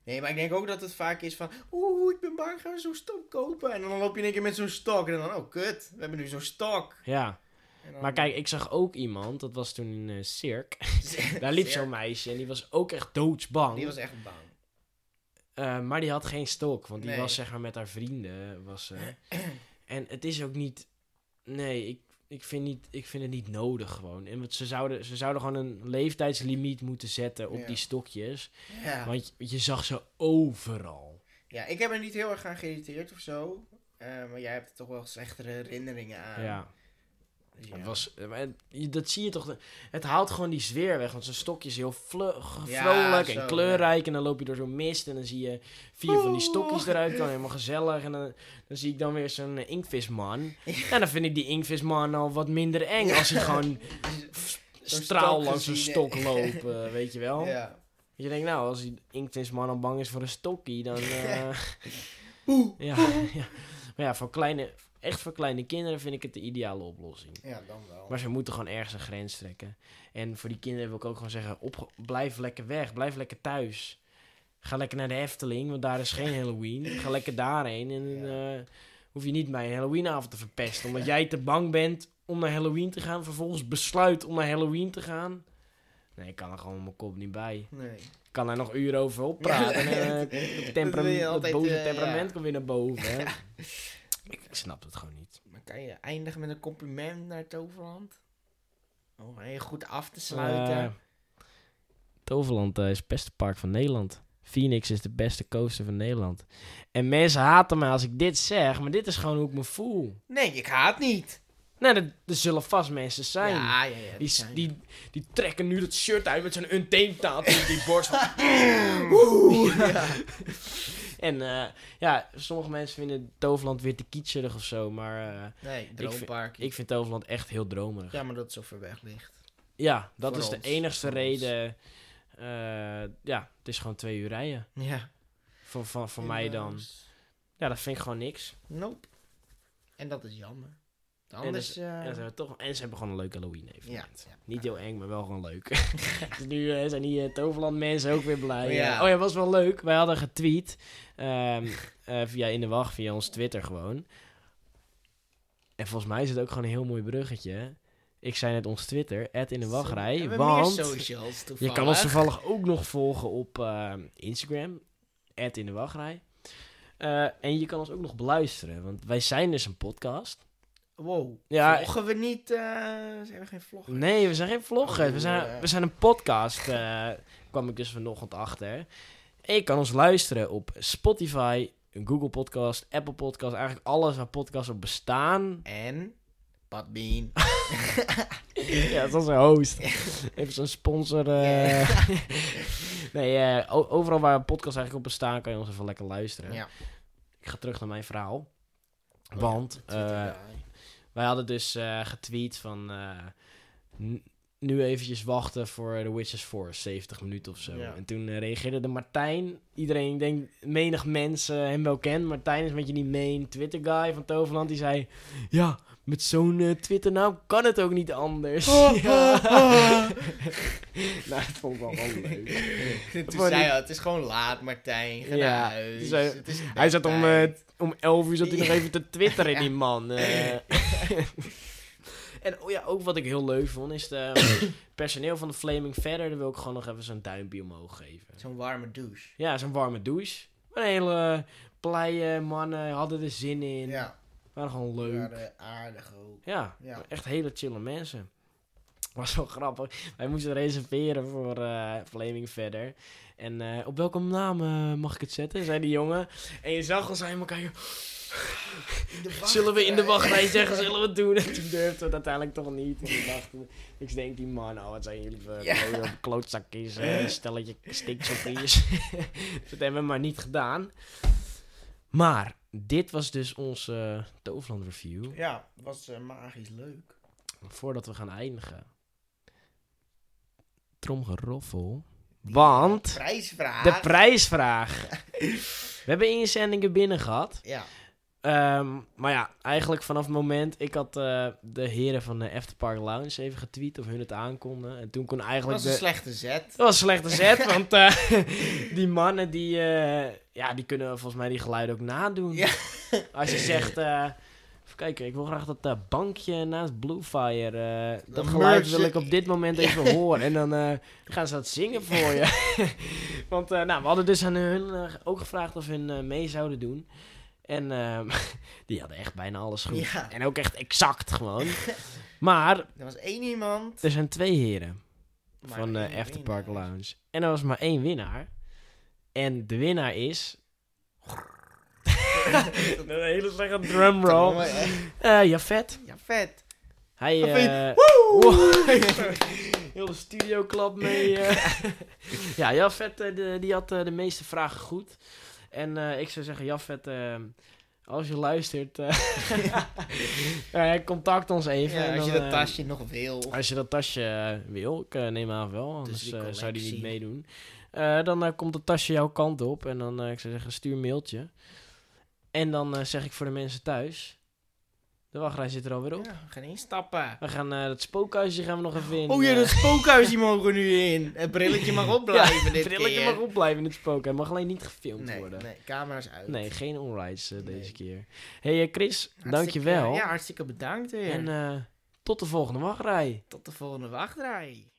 S2: Nee, maar ik denk ook dat het vaak is van... Oeh, ik ben bang, gaan we zo'n stok kopen? En dan loop je in één keer met zo'n stok. En dan, oh kut, we hebben nu zo'n stok.
S1: Ja,
S2: En dan-
S1: maar kijk, ik zag ook iemand, dat was toen in eh Cirque. Daar liep zo'n meisje en die was ook echt doodsbang.
S2: Die was echt bang.
S1: Eh, maar die had geen stok, want die
S2: Nee.
S1: was zeg maar met haar vrienden. Was, ze. en het is ook niet. Nee, ik, ik, vind niet, ik vind het niet nodig gewoon. En want ze, zouden, ze zouden gewoon een leeftijdslimiet moeten zetten op
S2: Ja.
S1: die stokjes.
S2: Ja.
S1: Want je, je zag ze overal.
S2: ja, ik heb er niet heel erg aan geïrriteerd of zo. Eh, maar jij hebt er toch wel slechtere herinneringen aan.
S1: ja,
S2: Dus Ehm, ja.
S1: Het was, eh, maar het- je- dat zie je toch. Het haalt gewoon die sfeer weg. Want zo'n stokje is heel vlug,
S2: Ja,
S1: vrolijk
S2: zo,
S1: en kleurrijk. En dan loop je door zo'n mist en dan zie je vier van die stokjes eruit. Dan helemaal gezellig. En dan, dan zie ik dan weer zo'n eh, inktvisman. En dan vind ik die inktvisman al wat minder eng. Als hij gewoon
S2: Zo'n
S1: straal
S2: stok
S1: langs een
S2: gezien,
S1: stok
S2: hè?
S1: loopt. eh, weet je wel.
S2: Ja.
S1: Je denkt, nou, als die inktvisman al bang is voor een stokkie, dan... eh,
S2: Oeh.
S1: ja, ja. Maar ja, voor kleine, echt voor kleine kinderen vind ik het de ideale oplossing.
S2: Ja, dan wel.
S1: Maar ze moeten gewoon ergens een grens trekken. En voor die kinderen wil ik ook gewoon zeggen: opge- blijf lekker weg, blijf lekker thuis. Ga lekker naar de Efteling, want daar is geen Halloween. Ga lekker daarheen en
S2: Ja.
S1: eh, hoef je niet mijn Halloweenavond te verpesten. Omdat jij te bang bent om naar Halloween te gaan, vervolgens besluit om naar Halloween te gaan. Nee, ik kan er gewoon mijn kop niet bij.
S2: Nee.
S1: Ik kan er nog uren over oppraten. en, eh,
S2: Dat wil je
S1: temperament- dat
S2: altijd,
S1: boze
S2: eh,
S1: temperament
S2: ja.
S1: komt weer naar boven. hè. Ik, ik snap het gewoon niet.
S2: Maar kan je eindigen met een compliment naar Toverland? Om heel goed af
S1: Eh,
S2: te sluiten.
S1: Sluiten. Toverland eh, is het beste park van Nederland. Phoenix is de beste coaster van Nederland. En mensen haten me als ik dit zeg, maar dit is gewoon hoe ik me voel.
S2: Nee, ik haat niet.
S1: Nou, er, er zullen vast mensen zijn.
S2: Ja, ja, ja.
S1: die,
S2: dat
S1: s-
S2: zijn.
S1: die, die trekken nu dat shirt uit met zo'n untamed tattoo op die borst. van-
S2: Oeh.
S1: En eh, ja, sommige mensen vinden Toverland weer te kitscherig of zo, maar eh,
S2: Nee,
S1: vind-
S2: droompark.
S1: ik vind Toverland echt heel dromerig.
S2: Ja, maar dat het zo ver weg ligt.
S1: Ja, dat
S2: Voor
S1: is de
S2: ons,
S1: enigste
S2: voor ons.
S1: reden. eh, ja, het is gewoon twee uur rijden.
S2: Ja.
S1: Voor, van, voor mij dan.
S2: Helaas.
S1: Ja, dat vind ik gewoon niks.
S2: Nope. En dat is jammer. Anders... eh,
S1: En ze, hebben toch, en ze hebben gewoon een leuk Halloween
S2: ja,
S1: evenement.
S2: ja.
S1: Niet heel eng, maar wel gewoon leuk. dus nu eh, zijn die eh, Toverland mensen ook weer blij.
S2: Ja.
S1: Oh ja, was wel leuk. Wij hadden getweet ehm, eh, via In de Wacht, via ons Twitter gewoon. En volgens mij is het ook gewoon een heel mooi bruggetje. Ik zei net ons Twitter, In de
S2: We
S1: Wachtrij.
S2: hebben
S1: Want
S2: meer socials
S1: je
S2: toevallig.
S1: kan ons toevallig ook nog volgen op ehm, Instagram, In de Wachtrij. Eh, en je kan ons ook nog beluisteren, want wij zijn dus een podcast.
S2: Wow,
S1: Ja,
S2: vloggen we niet... eh, ze hebben geen vlog.
S1: Nee, we zijn geen vloggers. We
S2: Ja.
S1: zijn, we zijn een podcast. eh, kwam ik dus vanochtend achter. En je kan ons luisteren op Spotify, Google Podcast, Apple Podcast. Eigenlijk alles waar podcasts op bestaan.
S2: En... Padbean.
S1: ja, dat is een host. Even zo'n sponsor. eh. nee, eh, o- overal waar podcasts eigenlijk op bestaan, kan je ons even lekker luisteren.
S2: Ja.
S1: Ik ga terug naar mijn verhaal.
S2: Oh ja,
S1: Want eh,
S2: Twitter, ja.
S1: Wij hadden dus eh, getweet van... eh, n- nu eventjes wachten voor The Witches 4, 70 minuten of zo.
S2: Ja.
S1: En toen eh, reageerde de Martijn. Iedereen, ik denk, menig mensen hem wel kent. Martijn is met je die main Twitter-guy van Toverland. Die zei, ja, met zo'n eh, Twitter-naam kan het ook niet anders. Ja. eh, nou, dat vond ik wel gewoon leuk.
S2: Toen zei hij, het is gewoon laat, Martijn. Ga
S1: Ja,
S2: naar
S1: toen
S2: huis.
S1: zei-
S2: Het is
S1: Hij zat om, eh,
S2: bedtijd.
S1: om 11 uur zat hij nog even te twitteren, die man. eh. en oh ja, ook wat ik heel leuk vond, is de personeel van de Flaming Feather. Daar wil ik gewoon nog even zo'n duimpje omhoog geven.
S2: Zo'n warme douche.
S1: Ja, zo'n warme douche. Een hele blije mannen, hadden er zin in.
S2: Ja,
S1: Waren gewoon leuk.
S2: maar,
S1: Ja,
S2: eh, aardig ook. Ja.
S1: echt hele chille mensen. Was wel grappig. Wij moesten reserveren voor eh, Flaming Feather. En eh, op welke naam eh, mag ik het zetten? Zei die jongen. En je zag ons helemaal kijken. Zullen we in de wachtrij zeggen, zullen we het doen? En toen durfden we het uiteindelijk toch niet. En toen dachten we, ik denk die man, oh wat zijn jullie voor
S2: Ja.
S1: mooie klootzakjes, eh, een stelletje stinkzoppies. dat hebben we maar niet gedaan. Maar, dit was dus onze Toverland review.
S2: Ja, was eh, magisch leuk.
S1: Voordat we gaan eindigen. Tromgeroffel. Want,
S2: Prijsvraag.
S1: de prijsvraag. We hebben inzendingen binnen gehad.
S2: ja.
S1: Ehm, maar ja, eigenlijk vanaf het moment... Ik had eh, de heren van de Afterpark Lounge even getweet of hun het aankonden. En toen kon
S2: Dat
S1: eigenlijk...
S2: was een
S1: de...
S2: slechte zet.
S1: Dat was een slechte zet, want eh, die mannen die, eh, ja, die kunnen volgens mij die geluiden ook nadoen.
S2: Ja.
S1: Als je zegt... eh, even kijken, ik wil graag dat eh, bankje naast Bluefire... eh, dat
S2: Dan
S1: geluid
S2: merge-
S1: wil ik op dit moment even horen. En dan eh, gaan ze dat zingen voor je. want eh, nou, we hadden dus aan hun eh, ook gevraagd of hun eh, mee zouden doen. En ehm, die hadden echt bijna alles goed.
S2: Ja.
S1: En ook echt exact gewoon. maar
S2: Er was één iemand.
S1: er zijn twee heren
S2: maar
S1: van eh,
S2: één
S1: de Afterpark
S2: winnaar.
S1: Lounge. En er was maar één winnaar. En de winnaar is... een hele slechte drumroll.
S2: Jongen, eh,
S1: Eh Jafet.
S2: Ja, vet.
S1: Hij...
S2: Jafet,
S1: eh,
S2: Woe!
S1: Heel de studio klap mee. eh. ja, Jafet eh, de, die had eh, de meeste vragen goed. En eh, ik zou zeggen, Jafet, eh, als je luistert, eh, eh, contact ons even.
S2: Ja,
S1: en
S2: als je
S1: dan,
S2: dat
S1: eh,
S2: tasje nog wil.
S1: Als je dat tasje eh, wil, ik eh, neem aan wel, anders
S2: die
S1: eh, zou die
S2: collectie.
S1: niet meedoen. Eh, dan eh, komt dat tasje jouw kant op en dan, eh, ik zou zeggen, stuur een mailtje. En dan eh, zeg ik voor de mensen thuis, de wachtrij zit er alweer op.
S2: Ja, we gaan instappen.
S1: We gaan eh dat spookhuisje gaan we nog even in.
S2: Oh ja,
S1: eh,
S2: dat spookhuisje mogen we nu in. Het brilletje mag opblijven dit
S1: Het brilletje
S2: keer.
S1: mag opblijven in het spook. Hij mag alleen niet gefilmd
S2: nee,
S1: worden. Nee.
S2: nee, camera's uit.
S1: geen onrides eh, deze
S2: Nee.
S1: keer. hey, eh, Chris,
S2: Hartstikke-
S1: dankjewel.
S2: Ja, hartstikke bedankt weer.
S1: En eh, tot de volgende wachtrij.
S2: tot de volgende wachtrij.